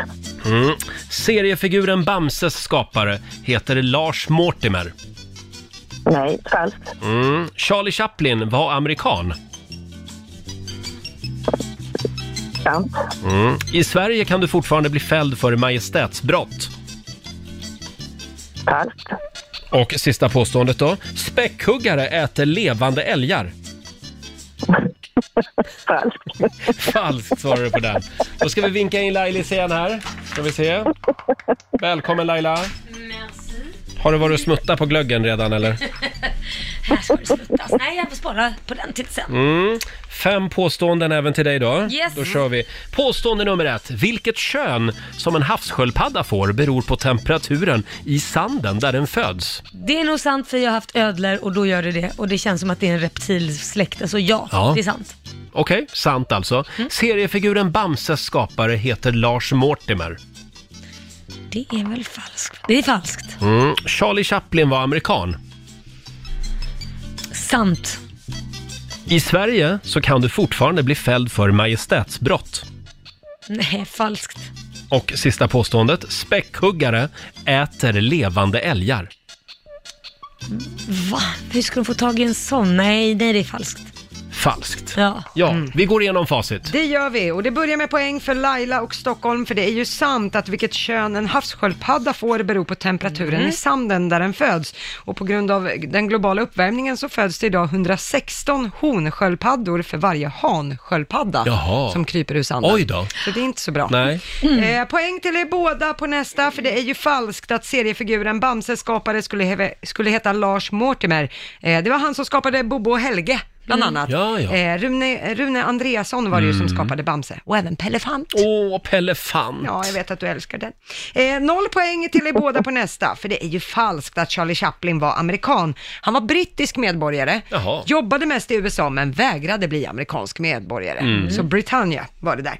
S1: Mm. Seriefiguren Bamses skapare heter Lars Mortimer.
S11: Nej, falskt.
S1: Mm. Charlie Chaplin var amerikan.
S11: Sant.
S1: Mm. I Sverige kan du fortfarande bli fälld för majestätsbrott.
S11: Falskt.
S1: Och sista påståendet då. Späckhuggare äter levande älgar. Falskt. Falskt svarar du på den. Då ska vi vinka in Lailis igen här. Ska vi se. Välkommen Laila. Har du varit och smuttat på glöggen redan eller?
S3: Här ska det sluttas. Nej, jag får spara på den till sen.
S1: Mm. Fem påståenden även till dig då.
S3: Yes.
S1: Då kör vi. Påstående nummer ett. Vilket kön som en havssköldpadda får beror på temperaturen i sanden där den föds.
S3: Det är nog sant för jag har haft ödlor och då gör det det. Och det känns som att det är en reptilsläkt. Alltså ja,
S1: Ja.
S3: det är sant.
S1: Okej, sant alltså. Seriefiguren Bamses skapare heter Lars Mortimer.
S3: Det är väl falskt? Det är falskt.
S1: Mm. Charlie Chaplin var amerikan.
S3: Sant.
S1: I Sverige så kan du fortfarande bli fälld för majestätsbrott.
S3: Nej, falskt.
S1: Och sista påståendet. Späckhuggare äter levande älgar.
S3: Va? Hur ska de få tag i en sån? Nej, nej det är falskt.
S1: Falskt.
S3: Ja.
S1: Ja, vi går igenom facit.
S2: Det gör vi och det börjar med poäng för Laila och Stockholm för det är ju sant att vilket kön en havssköldpadda får beror på temperaturen
S3: Mm.
S2: i sanden där den föds. Och på grund av den globala uppvärmningen så föds det idag 116 honsköldpaddor för varje hansköldpadda
S1: Jaha.
S2: som kryper ur sanden.
S1: Oj då.
S2: Så det är inte så bra.
S1: Nej.
S2: Eh, poäng till er båda på nästa, för det är ju falskt att seriefiguren Bamses skapare skulle, heve, skulle heta Lars Mortimer. Eh, det var han som skapade Bobo och Helge, bland
S1: Mm.
S2: annat.
S1: Ja, ja.
S2: Eh, Rune, Rune Andreasson var det ju som
S1: Mm.
S2: skapade Bamse, och även Pellefant.
S1: Åh, Pellefant!
S2: Ja, jag vet att du älskar den. Eh, noll poäng till er båda på nästa, för det är ju falskt att Charlie Chaplin var amerikan. Han var brittisk medborgare,
S1: Jaha.
S2: jobbade mest i USA men vägrade bli amerikansk medborgare.
S1: Mm.
S2: Så Britannia var det där.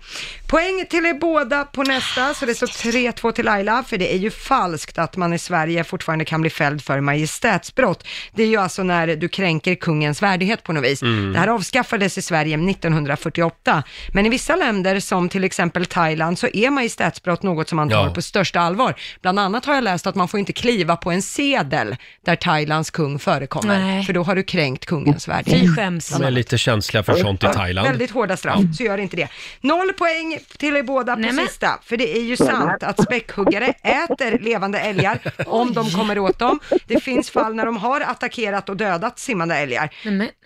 S2: Poäng till er båda på nästa, så det står 3-2 till Laila, för det är ju falskt att man i Sverige fortfarande kan bli fälld för majestätsbrott. Det är ju alltså när du kränker kungens värdighet på något vis.
S12: Mm.
S2: Det här avskaffades i Sverige 1948, men i vissa länder som till exempel Thailand så är majestätsbrott något som man tar
S12: Ja.
S2: på största allvar. Bland annat har jag läst att man får inte kliva på en sedel där Thailands kung förekommer,
S3: Nej.
S2: för då har du kränkt kungens värdighet.
S1: Mm.
S3: Fy skäms.
S1: De är lite känsliga för sånt i Thailand.
S2: Väldigt hårda straff, så gör inte det. Noll poäng till er båda på sista, för det är ju
S1: Nämen.
S2: sant att späckhuggare äter levande älgar om de kommer åt dem. Det finns fall när de har attackerat och dödat simmande älgar.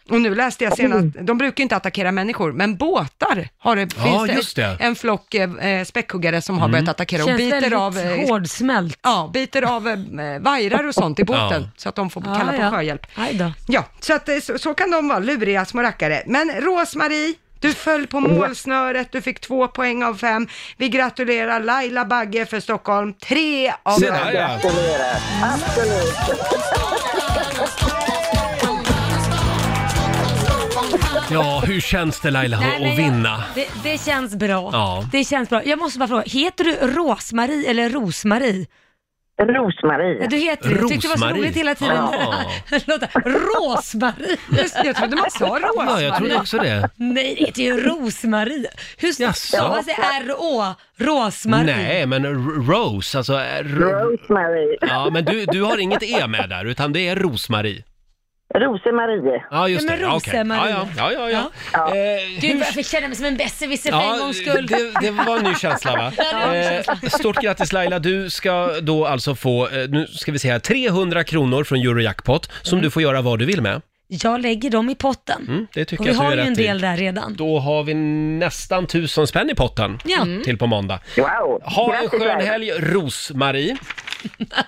S2: Och nu läste jag senast, de brukar ju inte attackera människor, men båtar har det,
S3: Ja,
S2: finns
S3: just det.
S2: en flock eh, späckhuggare som har
S3: Mm.
S2: börjat attackera och
S3: Känns
S2: biter
S3: väldigt
S2: av, eh,
S3: hårdsmält.
S2: Ja, biter av eh, vajrar och sånt i båten
S3: Ja.
S2: så att de får
S3: Ja,
S2: kalla på
S3: ja.
S2: sjöhjälp.
S3: Aj då.
S2: Ja, så, att, eh, så, så kan de vara, luriga små rackare. Men Rosmarie, du föll på målsnöret, du fick två poäng av fem. Vi gratulerar Laila Bagge för Stockholm, tre av
S4: Se där,
S2: fem.
S4: ja. Gratulerar.
S2: Absolut.
S1: Ja, hur känns det Laila
S3: Nej, men
S1: att
S3: jag-
S1: vinna?
S3: Det, det känns bra.
S1: Ja.
S3: Det känns bra. Jag måste bara fråga, heter du Rosmarie eller Rosmarie?
S11: Rosmarie.
S3: Ja, du heter det. Jag tyckte det var så
S1: Rosmarie.
S3: roligt hela tiden.
S1: Ja.
S3: Låt- Rosmarie.
S2: Just det, jag trodde man sa Rosmarie.
S1: Ja, jag trodde också det.
S3: Nej, det heter ju Rosmarie. Hur stavas det? R-Å? Rosmarie?
S1: Nej, men R- Rose, alltså... R-
S11: Rosemarie.
S1: Ja, men du, du har inget E med där, utan det är Rosmarie.
S11: Rosemarie.
S1: Ja, just
S11: Ja,
S1: det.
S11: men
S1: Ja, okej.
S11: Rosemarie.
S1: Ja, ja, ja, ja, ja. Eh,
S3: Gud, vad jag fick känna mig som en besserwisser för en
S1: Ja,
S3: gångs skull.
S1: det, det var en ny känsla va?
S3: Ja, det var en ny
S1: Eh,
S3: känsla.
S1: Stort grattis Laila, du ska då alltså få, eh, nu ska vi se här, 300 kronor från Eurojackpot som
S3: Mm.
S1: du får göra vad du vill med.
S3: Jag lägger dem i potten.
S1: Mm, det tycker
S3: Och vi
S1: jag att du
S3: har
S1: gör
S3: ju
S1: rätt
S3: en del
S1: i.
S3: där redan.
S1: Då har vi nästan tusen spänn i potten
S3: Ja. Mm.
S1: till på måndag.
S11: Wow.
S1: Ha en
S3: Grattis,
S1: skön
S3: Laila.
S1: helg, Rosmarie.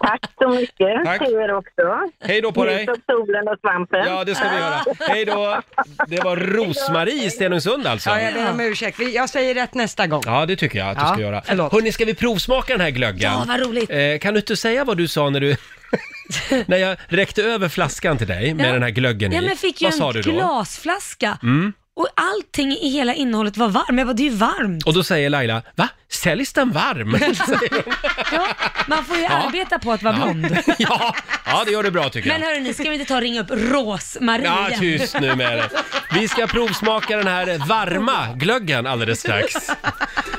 S11: Tack så mycket
S1: Tack.
S11: till er också.
S1: Hej då på
S11: Njut
S1: dig.
S11: av solen och svampen.
S1: Ja, det ska vi göra. Hej då! Det var Rosmarie i Stenungsund alltså.
S2: Ja, jag ber om ursäkt. Vi- Jag säger rätt nästa gång.
S1: Ja, det tycker jag att du
S2: Ja,
S1: ska göra. Hörni, ska vi provsmaka den här glöggen?
S2: Ja, vad roligt.
S1: Eh, kan du inte säga vad du sa när du... när jag räckte över flaskan till dig med
S3: Ja.
S1: den här glöggen
S3: ja,
S1: i.
S3: men jag fick ju
S1: vad sa
S3: en
S1: du då?
S3: glasflaska
S1: Mm.
S3: och allting i hela innehållet var varmt. Jag bara, det är ju varmt.
S1: Och då säger Laila, va? Säljs den varm?
S3: Man får ju
S1: Ja.
S3: arbeta på att vara blond.
S1: ja, ja, det gör du bra tycker jag.
S3: Men hörru, ni ska vi inte ta och ringa upp Rosmarie
S1: Ja, typ.
S3: igen?
S1: tyst nu med det. Vi ska provsmaka den här varma glöggen alldeles strax.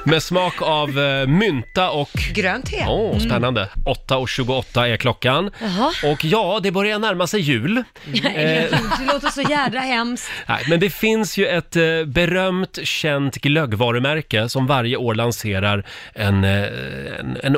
S1: Med smak av eh, mynta och...
S2: Grönt te.
S1: Åh, spännande. 8.28 är klockan.
S3: Jaha.
S1: Och ja, det börjar närma sig jul.
S2: Mm.
S3: Nej,
S1: Eh,
S3: Det låter så jädra hemskt.
S1: Nej, men det finns ju ett eh, berömt, känt glöggvarumärke som varje år lanserar en, eh, en, en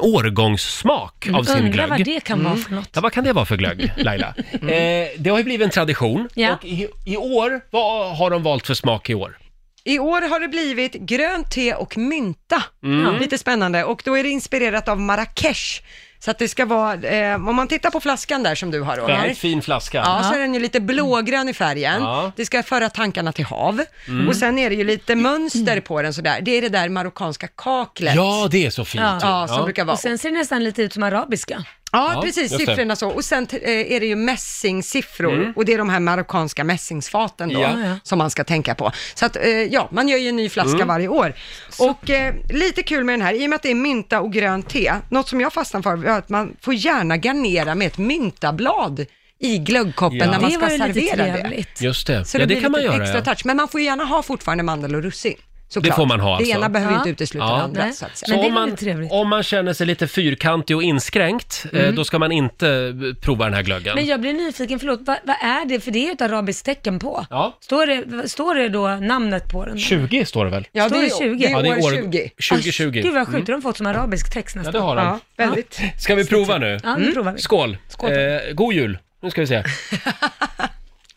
S1: årgångssmak av sin
S3: Undrar
S1: glögg. Mm.
S3: vad det kan vara för något.
S1: Ja, vad kan det vara för glögg, Laila?
S2: Mm.
S1: Eh, det har ju blivit en tradition.
S3: Ja.
S1: Och i, I år, vad har de valt för smak i år?
S2: I år har det blivit grönt te och mynta.
S1: Mm. Ja.
S2: Lite spännande. Och då är det inspirerat av Marrakesh. Så att det ska vara, eh, om man tittar på flaskan där som du har Roger.
S1: Väldigt fin flaska.
S2: Ja, så är den ju lite blågrön i färgen.
S1: Ja.
S2: Det ska föra tankarna till hav.
S1: Mm.
S2: Och sen är det ju lite mönster på den sådär. Det är det där marockanska kaklet.
S1: Ja, det är så fint.
S2: Ja,
S1: ju.
S2: ja som brukar vara.
S3: Och sen ser det nästan lite ut som arabiska.
S2: Ja,
S1: Ja,
S2: precis.
S1: just det.
S2: Siffrorna så. Och sen eh, är det ju mässingsiffror
S1: Mm.
S2: och det är de här marockanska mässingsfaten då,
S1: Ja. Ja, ja.
S2: som man ska tänka på. Så att, eh, ja, man gör ju en ny flaska
S1: Mm.
S2: varje år. Och eh, lite kul med den här, i och med att det är mynta och grönt te, något som jag fastnade för var att man får gärna garnera med ett myntablad i glöggkoppen
S1: Ja.
S2: när man
S1: Det
S2: ska
S1: var ju lite
S2: servera det.
S1: trevligt. Just det.
S2: Så
S1: Ja,
S2: det,
S1: det
S2: blir
S1: kan man
S2: lite
S1: göra,
S2: extra
S1: ja.
S2: touch. Men man får ju gärna ha fortfarande mandel och russin. Såklart.
S1: Det får man ha
S2: Det
S1: alltså.
S2: ena behöver ju inte utesluta
S1: Ja.
S2: det andra. Så att säga.
S1: om, man, om man känner sig lite fyrkantig och inskränkt, eh,
S3: Mm.
S1: då ska man inte eh, prova den här glöggen.
S3: Men jag blir nyfiken, förlåt, vad, vad är det? För det är ju ett arabiskt tecken på.
S1: Ja.
S3: Står, det, står det då namnet på den?
S1: 20 står det väl?
S3: Ja, det är, 20.
S1: Ja, det är år 20. 2020.
S3: Gud vad sjukt,
S1: Mm.
S3: de har fått som arabisk text nästan.
S1: Ja, det har de. Ja,
S2: väldigt.
S1: Ska vi prova nu?
S3: Ja, nu
S1: Mm.
S3: provar vi.
S1: Skål!
S3: Skål.
S1: Eh, god jul! Nu ska vi se.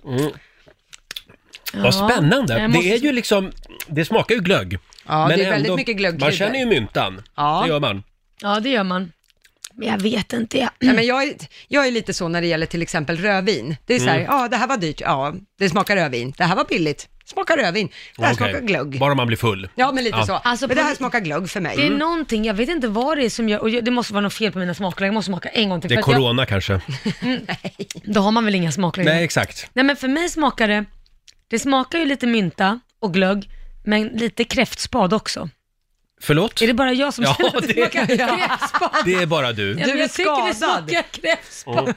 S1: Mm.
S3: Ja,
S1: Vad spännande!
S3: jag måste-
S1: Det är ju liksom, det smakar ju glögg.
S3: Ja, det är väldigt mycket glöggkrydda.
S1: Man känner ju myntan.
S2: Ja.
S1: Det gör man.
S3: Ja, det gör man. Men jag vet inte. Jag...
S2: Nej, men jag, är, jag är lite så när det gäller till exempel rödvin. Det är så här,
S1: Mm.
S2: ja det här var dyrt, ja det smakar rödvin. Det här var billigt, smakar rödvin. Det här
S1: Okej.
S2: smakar glögg.
S1: Bara man blir full.
S2: Ja, men lite så.
S3: Alltså,
S2: men det
S3: på- Mm.
S2: här smakar glögg för mig.
S3: Det är någonting, jag vet inte vad det är som gör, och jag, det måste vara något fel på mina smaklökar, jag måste smaka en gång till.
S1: Det är
S3: för att
S1: corona kanske.
S3: Jag, då har man väl inga smaklökar?
S1: Nej, exakt.
S3: Nej men för mig smakar det, det smakar ju lite mynta och glögg, men lite kräftspad också.
S1: Förlåt?
S3: Är det bara jag som
S1: Ja,
S3: känner att det
S1: det-
S3: smakar kräftspad?
S1: Det är bara du.
S3: Ja, men jag tycker det smakar kräftspad.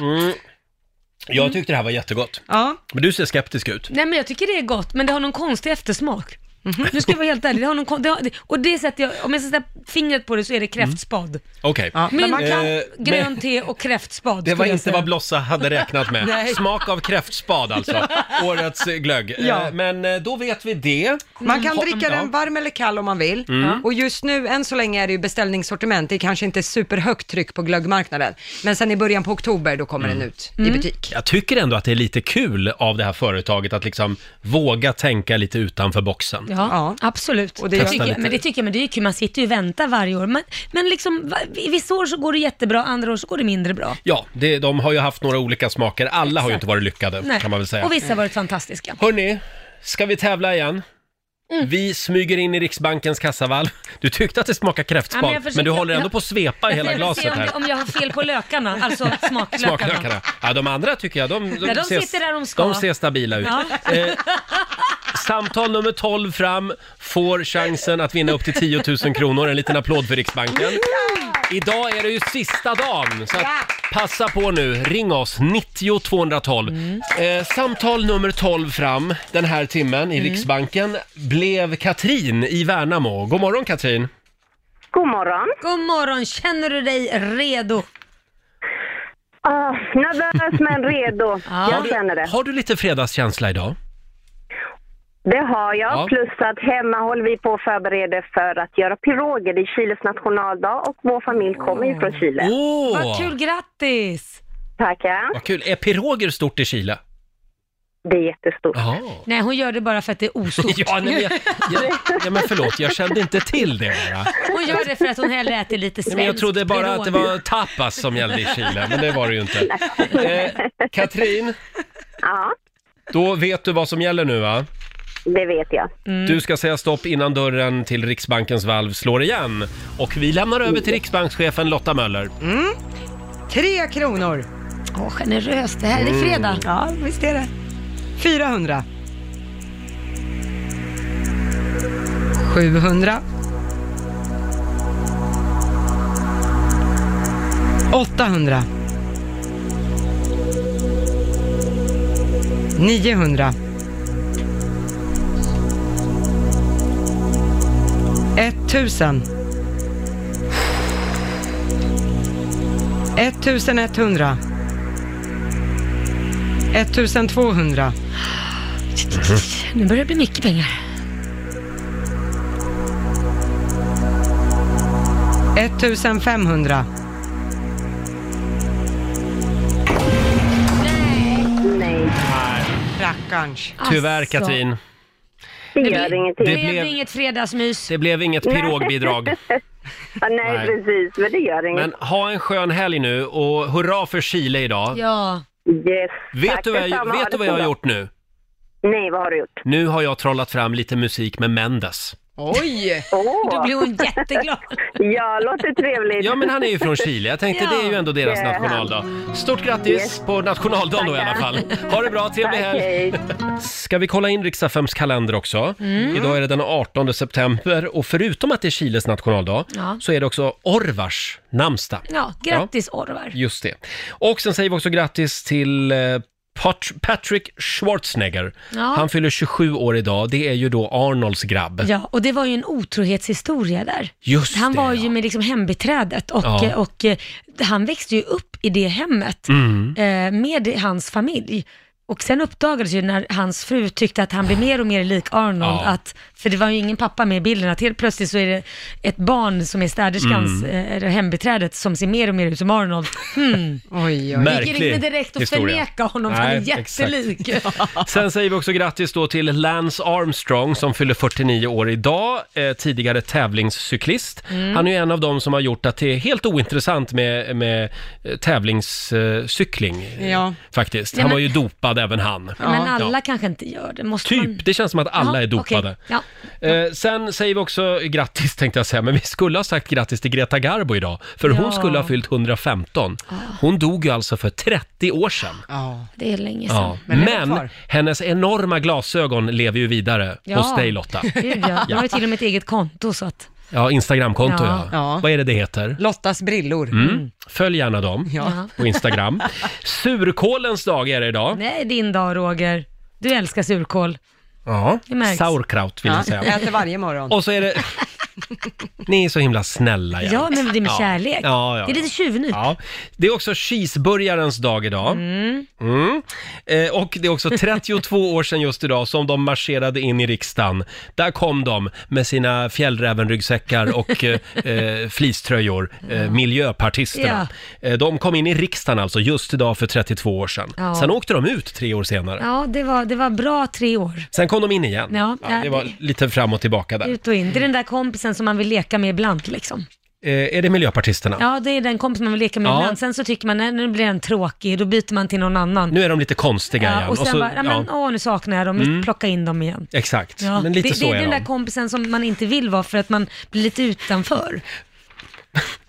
S1: Mm. Mm. Jag tyckte det här var jättegott.
S2: Ja.
S1: Men du ser skeptisk ut.
S3: Nej men jag tycker det är gott, men det har någon konstig eftersmak.
S1: Mhm.
S3: Nu ska jag vara helt ärlig, det har någon kon- det har, det- och det sätter jag, om jag sätter fingret på det så är det
S1: Mm.
S3: kräftspad.
S1: Okej.
S3: Mynta,
S1: Eh,
S3: grönt
S1: men
S3: te och kräftspad
S1: Det var
S3: skulle jag
S1: inte
S3: säga.
S1: vad Blossa hade räknat med.
S3: Nej.
S1: Smak av kräftspad alltså. Årets eh, glögg. Eh,
S2: Ja.
S1: Men eh, då vet vi det.
S2: Man kan
S1: Ha-
S2: dricka
S1: Ja.
S2: den varm eller kall om man vill.
S1: Mm.
S2: Och just nu, än så länge är det ju beställningssortiment. Det är kanske inte superhögt tryck på glöggmarknaden. Men sen i början på oktober, då kommer
S1: Mm.
S2: den ut i butik.
S1: Jag tycker ändå att det är lite kul av det här företaget att liksom våga tänka lite utanför boxen.
S3: Ja, absolut.
S1: det
S3: det
S1: gör-
S3: tycker jag, men det tycker jag, men det är ju kul, man sitter ju och väntar varje år. Men, men liksom, va- i vissa år så går det jättebra, andra år så går det mindre bra.
S1: Ja, det, de har ju haft några olika smaker. Alla har ju
S3: Exakt.
S1: inte varit lyckade,
S3: Nej.
S1: kan man väl säga.
S3: Och vissa har varit fantastiska.
S1: Hörni, ska vi tävla igen?
S3: Mm.
S1: Vi smyger in i Riksbankens kassavalv. Du tyckte att det smakade kräftspad,
S3: Ja, men
S1: men,
S3: jag försöker-
S1: du håller ändå
S3: jag-
S1: på att svepa i hela
S3: Jag vill se
S1: glaset
S3: om,
S1: här.
S3: om jag har fel på lökarna, alltså smaklökarna.
S1: Smaklökarna. Ja, de andra tycker jag, de,
S3: Ja, de sitter där de ska.
S1: de ser stabila ut.
S3: Ja.
S1: Eh, samtal nummer 12 fram får chansen att vinna upp till 10 000 kronor. En liten applåd för Riksbanken. Idag är det ju sista dagen, så att passa på nu. Ring oss, 90 212.
S3: Mm.
S1: Eh, samtal nummer 12 fram den här timmen
S3: Mm.
S1: i Riksbanken blev Katrin i Värnamo. God morgon Katrin!
S3: God morgon. God morgon, känner du dig redo?
S11: Ah, nervös men redo.
S1: har,
S11: Jag känner
S1: du,
S11: det.
S1: har du lite fredagskänsla idag?
S11: Det har jag.
S1: Ja.
S11: Plus att hemma håller vi på och förbereder för att göra piroger. Det är Chiles nationaldag och vår familj kommer ju från Chile.
S1: Åh.
S3: Vad kul, grattis!
S11: Tackar.
S1: Vad kul! Är piroger stort i Chile?
S11: Det är jättestort.
S1: Jaha.
S3: Nej, hon gör det bara för att det är ostort.
S1: Ja, nej, men jag- Ja, men förlåt, jag kände inte till det bara.
S3: Hon gör det för att hon hellre äter lite
S1: Nej,
S3: svenskt
S1: men jag trodde bara
S3: Pirog.
S1: att det var tapas som gällde i Chile, men det var det ju inte. Eh, Katrin,
S11: Ja,
S1: då vet du vad som gäller nu va?
S11: det vet jag.
S1: Du ska säga stopp innan dörren till Riksbankens valv slår igen. Och vi lämnar över
S11: Mm.
S1: till Riksbankschefen Lotta Möller.
S2: Mm. Tre kronor.
S3: Åh, generöst. Det
S1: här är Mm. fredag.
S2: Ja, visst är det. 400. 700. 800. 900. 1000. 1100. 1200.
S1: Mm.
S3: Nu börjar det bli mycket pengar.
S2: 1500.
S11: Nej.
S2: Rackarns.
S1: Tyvärr
S3: Alltså.
S1: Katrin,
S11: Det
S3: Det
S11: gör
S3: blir-
S11: ingenting.
S1: det
S3: Det
S1: blev-
S3: blev inget fredagsmys.
S1: det blev inget pirogbidrag.
S11: ja, nej,
S1: Nej.
S11: precis. Men det gör inget.
S1: Men ha en skön helg nu och hurra för Chile idag.
S3: Ja.
S11: Yes,
S1: Vet
S11: tack
S1: du, vad jag,
S11: detsamma. Ha
S1: vet
S11: det
S1: du vad jag
S11: så
S1: har
S11: bra.
S1: gjort nu?
S11: Nej, vad har du gjort?
S1: Nu har jag trollat fram lite musik med Mendes.
S2: Oj!
S11: Åh.
S3: Då blir hon jätteglad.
S11: Ja, låter trevligt.
S1: Ja, men han är ju från Chile. Jag tänkte
S3: Ja.
S1: det är ju ändå deras
S11: Det är han.
S1: nationaldag. Stort grattis
S11: Yes.
S1: på nationaldagen då i alla fall. Ha det bra, trevlig
S11: Tack,
S1: helg!
S11: hej.
S1: Ska vi kolla in Riks-FMs kalender också?
S11: Mm.
S1: Idag är det den 18 september och förutom att det är Chiles nationaldag
S3: Ja.
S1: så är det också Orvars namnsdag.
S3: Ja, grattis Orvar.
S1: Just det. Och sen säger vi också grattis till eh, Pat- Patrick Schwarzenegger.
S3: Ja.
S1: Han fyller 27 år idag. Det är ju då Arnolds grabb.
S3: Ja, och det var ju en otrohetshistoria där.
S1: Just
S3: han
S1: det,
S3: var
S1: ja.
S3: ju med liksom hembiträdet och,
S1: Ja.
S3: och, eh, han växte ju upp i det hemmet
S1: Mm.
S3: eh, med hans familj. Och sen uppdagades ju när hans fru tyckte att han blev mer och mer lik Arnold,
S1: Ja.
S3: att, för det var ju ingen pappa med i bilden, att helt plötsligt så är det ett barn som är städerskans,
S1: Mm.
S3: eh, eller hembiträdet, som ser mer och mer ut som Arnold. Hmm.
S2: Oj, oj.
S1: Märklig
S3: Gick inte direkt att
S1: historia.
S3: förneka honom, för han är
S1: Nej, exakt.
S3: jättelik.
S1: Sen säger vi också grattis då till Lance Armstrong som fyller 49 år idag, eh, tidigare tävlingscyklist.
S3: Mm.
S1: Han är ju en av dem som har gjort att det är helt ointressant med, med eh, tävlingscykling eh,
S2: Ja.
S1: faktiskt.
S3: Nej,
S1: Han
S3: men-
S1: var ju dopad även han.
S3: Men
S1: Ja.
S3: alla kanske inte gör det. Måste
S1: Typ,
S3: man...
S1: det känns som att alla
S3: Jaha,
S1: är dopade.
S3: okej. Ja.
S1: Eh, sen säger vi också grattis tänkte jag säga, men vi skulle ha sagt grattis till Greta Garbo idag, för hon
S3: Ja.
S1: skulle ha fyllt 115. Hon dog ju alltså för 30 år sedan.
S2: Ja.
S3: Det är länge sedan.
S1: Ja.
S2: Men
S1: Men,
S2: lever kvar.
S1: hennes enorma glasögon lever ju vidare
S3: Ja.
S1: hos dig Lotta.
S3: Gud ja. Jag har ju till och med ett eget konto så att...
S1: Ja, Instagramkonto ja.
S3: Ja.
S2: Ja.
S1: Vad är det det heter?
S2: Lottas brillor.
S1: Mm. Följ gärna dem
S2: Ja.
S1: på Instagram. Surkålens dag är det idag.
S3: Nej, din dag Roger. Du älskar surkål.
S1: Ja,
S3: Det märks.
S1: sauerkraut vill
S2: Ja,
S1: jag
S2: jag
S1: säga.
S2: äter varje morgon.
S1: Och så är det... Ni är så himla snälla jämt.
S3: Ja, men det är med
S1: Ja.
S3: kärlek.
S1: Ja, ja,
S3: Det är lite tjuvnyp.
S1: Ja. Det är också cheeseburgarens dag idag.
S3: Mm.
S1: Mm. Eh, och det är också 32 år sedan just idag som de marscherade in i riksdagen. Där kom de med sina fjällrävenryggsäckar och eh, eh, fleecetröjor, eh, miljöpartisterna. Eh, de kom in i riksdagen alltså just idag för 32 år sedan.
S3: Ja.
S1: Sen åkte de ut tre år senare.
S3: Ja, det var, det var bra tre år.
S1: Sen kom de in igen.
S3: Ja,
S1: Ja, det var lite fram och tillbaka där.
S3: Ut och in. Det är den där kompisen som man vill leka med ibland liksom.
S1: Eh, är det miljöpartisterna?
S3: Ja, det är den kompisen man vill leka med
S1: Ja.
S3: ibland. Sen så tycker man, nej, nu blir den tråkig, då byter man till någon annan.
S1: Nu är de lite konstiga igen.
S3: Ja, och sen
S1: så-
S3: bara, ja, men, åh nu saknar jag dem,
S1: Mm.
S3: plocka in dem igen.
S1: Exakt,
S3: Ja,
S1: men lite
S3: det,
S1: så
S3: det
S1: är
S3: är den
S1: de.
S3: där kompisen som man inte vill vara för att man blir lite utanför.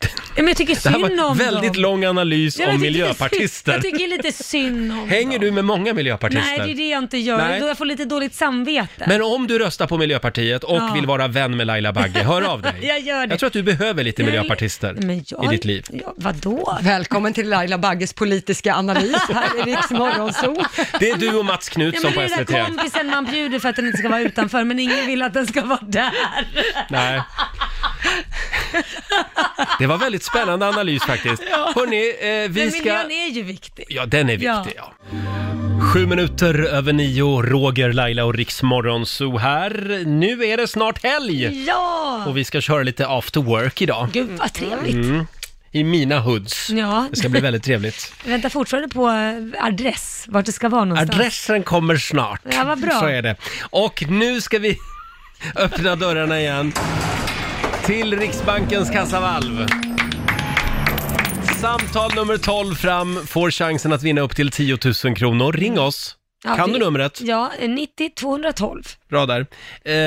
S3: Ja, men jag tycker
S1: Det här
S3: synd om
S1: var
S3: dem.
S1: en väldigt lång analys
S3: Ja, men
S1: om
S3: jag tycker-
S1: miljöpartister.
S3: Jag tycker lite synd om
S1: Hänger
S3: dem.
S1: du med många miljöpartister?
S3: Nej, det är det jag inte gör.
S1: Nej.
S3: Då jag får lite dåligt samvete.
S1: Men om du röstar på Miljöpartiet och
S3: Ja.
S1: vill vara vän med Laila Bagge, hör av dig.
S3: Jag gör det.
S1: tror att du behöver lite
S3: Jag-
S1: miljöpartister
S3: Men jag-
S1: i ditt liv.
S3: Ja, vadå?
S2: Välkommen till Laila Bagges politiska analys här i Riks Morgonzoo.
S1: Det är du och Mats
S3: Ja,
S1: Knutsson
S3: men det
S1: på
S3: är den
S1: SVT.
S3: där kompisen man bjuder för att den inte ska vara utanför, men ingen vill att den ska vara där.
S1: Nej. Det var väldigt spännande analys faktiskt. Hörrni, eh, vi
S3: men
S1: ska...
S3: miljön är ju viktig.
S1: Ja, den är
S3: Ja.
S1: viktig. Ja. Sju minuter över nio, Roger, Laila och Riksmorgon så här. Nu är det snart helg
S3: Ja!
S1: och vi ska köra lite after work idag.
S3: Gud vad trevligt.
S1: Mm. i mina hoods.
S3: Ja.
S1: Det ska bli väldigt trevligt.
S3: Jag väntar fortfarande på eh, adress, vart det ska vara någonstans.
S1: Adressen kommer snart.
S3: Ja, vad bra.
S1: Så är det. Och nu ska vi öppna dörrarna igen till Riksbankens kassavalv. Samtal nummer 12 fram får chansen att vinna upp till 10 000 kronor. Ring oss.
S3: Ja,
S1: kan du
S3: det-
S1: numret?
S3: Ja, eh, 90 212.
S1: Bra där.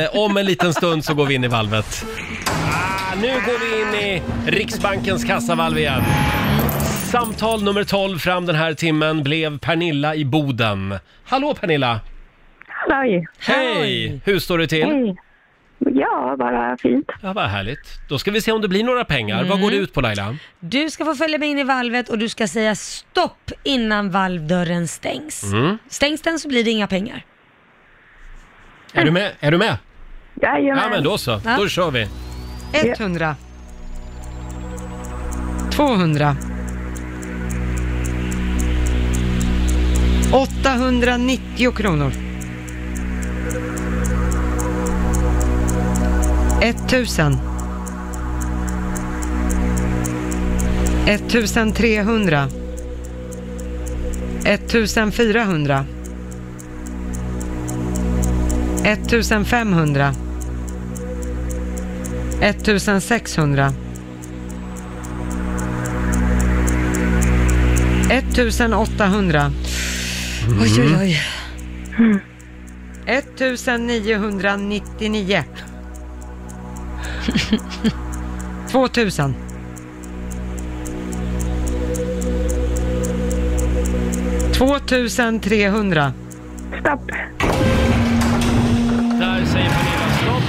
S1: Eh, om en liten stund så går vi in i valvet. Ah, nu går vi in i Riksbankens kassavalv igen. Samtal nummer 12 fram den här timmen blev Pernilla i Boden. Hallå Pernilla!
S12: Halloj!
S1: Hej! Hur står det till?
S12: Hej! Ja, bara fint.
S1: Ja, vad härligt. Då ska vi se om det blir några pengar. Vad går det ut på Laila?
S3: Du ska få följa med in i valvet och du ska säga stopp innan valvdörren stängs.
S1: Mm.
S3: Stängs den så blir det inga pengar.
S1: Är du med? Är du med?
S3: Jajamän.
S1: Ja, men då så.
S3: Ja.
S1: Då kör vi.
S2: 100. 200. 890 kronor. 1000. 1300. 1400. 1500. 1600. 1800.
S3: Oj, oj, oj.
S2: 1999. 2000. 2300.
S12: Stopp.
S1: Där säger Pernilla stopp.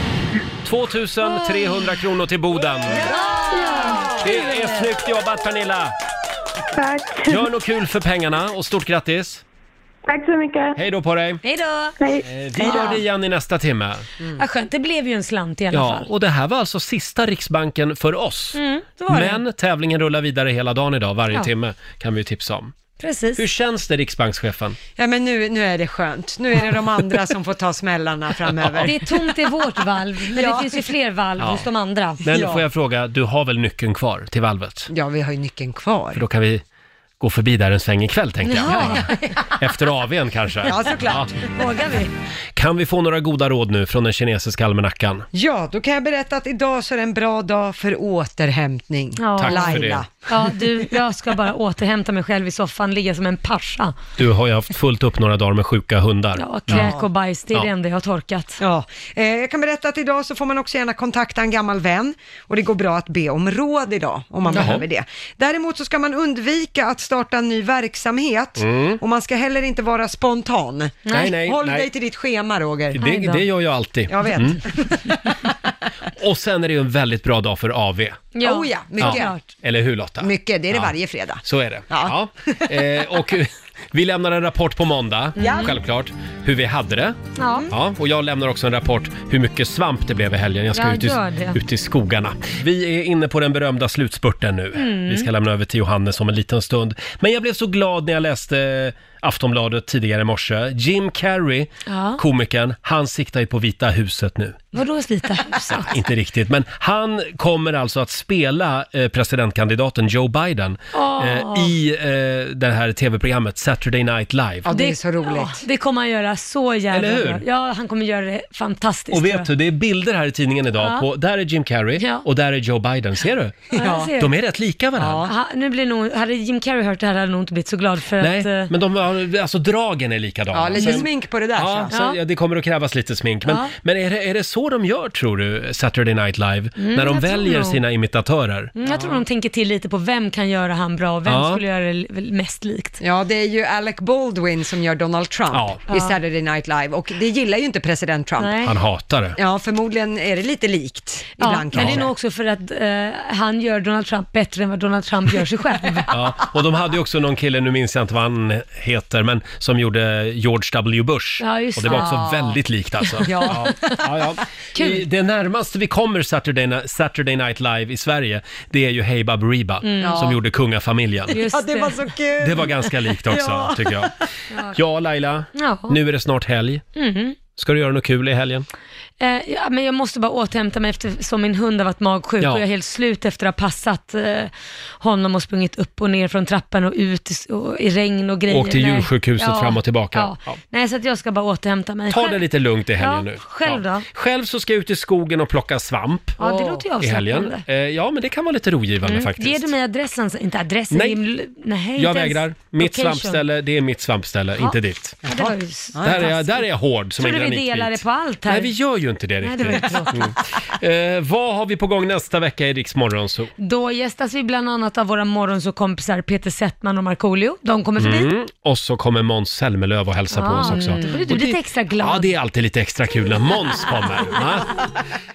S1: 2300 kronor till Boden. Det är snyggt jobbat Pernilla!
S12: Tack.
S1: Gör något kul för pengarna och stort grattis!
S12: Tack så mycket.
S1: Hej då på dig!
S3: Hej då!
S1: Eh, Vi gör det igen i nästa timme.
S3: Ja, skönt, det blev ju en slant i alla
S1: Mm. Ja,
S3: fall.
S1: och det här var alltså sista Riksbanken för oss.
S3: Mm, det var det.
S1: Men tävlingen rullar vidare hela dagen idag, varje
S2: Ja.
S1: timme kan vi ju tipsa om.
S3: Precis.
S1: Hur känns det Riksbankschefen?
S2: Ja, men nu, nu är det skönt. Nu är det de andra som får ta smällarna framöver.
S3: Det är tomt i vårt valv, men
S2: Ja.
S3: det finns ju fler valv
S1: Ja.
S3: hos de andra.
S1: Men får jag fråga, du har väl nyckeln kvar till valvet?
S2: Ja, vi har ju nyckeln kvar.
S1: För då kan vi gå förbi där en sväng ikväll tänkte jag.
S3: Ja.
S1: Efter AWn kanske.
S2: Ja, såklart.
S1: Ja.
S3: Vågar vi?
S1: Kan vi få några goda råd nu från den kinesiska almanackan?
S2: Ja, då kan jag berätta att idag så är det en bra dag för återhämtning.
S3: Ja.
S1: Tack för
S2: Laila.
S3: Ja, du, jag ska bara återhämta mig själv i soffan, ligga som en pascha.
S1: Du har ju haft fullt upp några dagar med sjuka hundar.
S3: Ja, kräk och bajs, det är
S1: Ja.
S3: det enda jag har torkat.
S2: Ja. Eh, jag kan berätta att idag så får man också gärna kontakta en gammal vän och det går bra att be om råd idag om man
S3: Jaha.
S2: behöver det. Däremot så ska man undvika att starta en ny verksamhet
S1: Mm.
S2: och man ska heller inte vara spontan.
S1: Nej, nej,
S2: Håll
S1: nej. Mm.
S2: dig till ditt schema Roger.
S1: Det, det gör jag alltid.
S2: Jag vet.
S1: Och sen är det ju en väldigt bra dag för AV.
S2: Ja. Oh ja, mycket.
S1: Eller hur Lotta?
S2: Mycket, det är det
S1: Ja.
S2: varje fredag.
S1: Så är det.
S2: Ja.
S1: Eh, och vi lämnar en rapport på måndag,
S2: Ja.
S1: självklart, hur vi hade det.
S3: Ja.
S1: Ja, och jag lämnar också en rapport hur mycket svamp det blev i helgen. Jag ska
S3: Ja,
S1: ut, i,
S3: gör det.
S1: ut i skogarna. Vi är inne på den berömda slutspurten nu.
S3: Mm.
S1: Vi ska lämna över till Johannes om en liten stund. Men jag blev så glad när jag läste eh, Aftonbladet tidigare i morse. Jim Carrey,
S3: Ja.
S1: komikern, han siktar ju på Vita huset nu.
S3: Vadå Vita huset?
S1: Inte riktigt, men han kommer alltså att spela eh, presidentkandidaten Joe Biden
S3: Åh.
S1: eh, i eh, det här tv-programmet Saturday Night Live.
S3: Ja, det kommer han göra så jävla
S1: Eller hur?
S3: bra. Ja, han kommer göra det fantastiskt.
S1: Och
S3: tror jag.
S1: vet du, det är bilder här i tidningen idag
S3: Ja.
S1: på, där är Jim Carrey och där är Joe Biden, ser du?
S3: Ja, jag ser.
S1: De är rätt lika varandra.
S3: Ja, nu blir nog, hade Jim Carrey hört det här hade han nog inte blivit så glad för
S1: Nej,
S3: att... eh,
S1: men de har, alltså dragen är likadana.
S3: Ja, lite
S1: Sen-
S3: smink på det där,
S1: Ja,
S3: så.
S1: så,
S3: Ja.
S1: ja, det kommer att krävas lite smink. Men,
S3: Ja.
S1: men är, det, är det så de gör, tror du, Saturday Night Live?
S3: Mm,
S1: när de
S3: jag tror
S1: väljer
S3: nog.
S1: sina imitatörer?
S3: Mm, Jag tror de tänker till lite på vem kan göra han bra och vem
S1: Ja.
S3: skulle göra det väl mest likt.
S2: Ja, det är ju Alec Baldwin som gör Donald Trump
S1: Ja.
S2: i Saturday Night Live och det gillar ju inte president Trump.
S1: Han hatar det.
S2: Ja, förmodligen är det lite likt
S3: Ja, men
S2: ibland
S3: det är
S2: kanske.
S3: nog också för att eh, han gör Donald Trump bättre än vad Donald Trump gör sig själv.
S1: Ja, och de hade ju också någon kille, nu minns jag inte vad han heter, men som gjorde George W. Bush.
S3: Ja, just
S1: och det var
S3: det.
S1: också
S3: Ja.
S1: väldigt likt alltså.
S3: Ja.
S1: ja, ja. I, det närmaste vi kommer Saturday, Saturday Night Live i Sverige, det är ju Hey Baberiba
S2: Mm.
S1: som
S2: Ja.
S1: gjorde Kungafamiljen.
S2: Ja, det var så kul!
S1: Det var ganska likt också,
S2: Ja.
S1: tycker jag. Ja, Laila,
S3: Ja.
S1: nu är det snart helg.
S3: Mhm.
S1: Ska du göra något kul i helgen?
S3: Eh, ja, men jag måste bara återhämta mig eftersom min hund har varit magsjuk
S1: Ja.
S3: och jag är helt slut efter att ha passat eh, honom och sprungit upp och ner från trappan och ut i, s- och, i regn och grejer.
S1: Åkt till djursjukhuset fram och tillbaka.
S3: Ja.
S1: Ja.
S3: Nej, så att jag ska bara återhämta mig.
S1: Ta
S3: Själv-
S1: det lite lugnt i helgen
S3: ja,
S1: nu.
S3: Själv då?
S1: Själv så ska jag ut i skogen och plocka svamp
S3: Ja, det låter ju
S1: i helgen.
S3: avslappnande.
S1: Eh, Ja, men det kan vara lite rogivande
S3: Mm.
S1: faktiskt.
S3: Ger du mig adressen? sen? Inte adressen,
S1: Nej.
S3: det är ju- nej, inte
S1: Jag
S3: ens
S1: vägrar. Mitt
S3: location.
S1: svampställe, det är mitt svampställe,
S3: Ja.
S1: inte ditt.
S3: Ja, det var ju s-
S1: Där är, jag, där är jag hård som en
S3: Trodde vi
S1: granitkvit.
S3: delade på allt här.
S1: Nej, vi gör ju inte det
S3: Nej,
S1: riktigt.
S3: det var ju
S1: Mm. eh, vad har vi på gång nästa vecka i Rix Morgon Zoo?
S3: Då gästas vi bland annat av våra morgonsåkompisar Peter Settman och Markoolio. De kommer förbi. mm.
S1: Mm. Och så kommer Måns Zelmerlöw och
S3: Ah,
S1: hälsa på oss också.
S3: Då blir du
S1: Och det-
S3: lite extra glad.
S1: Ja, det är alltid lite extra kul när Måns kommer. va?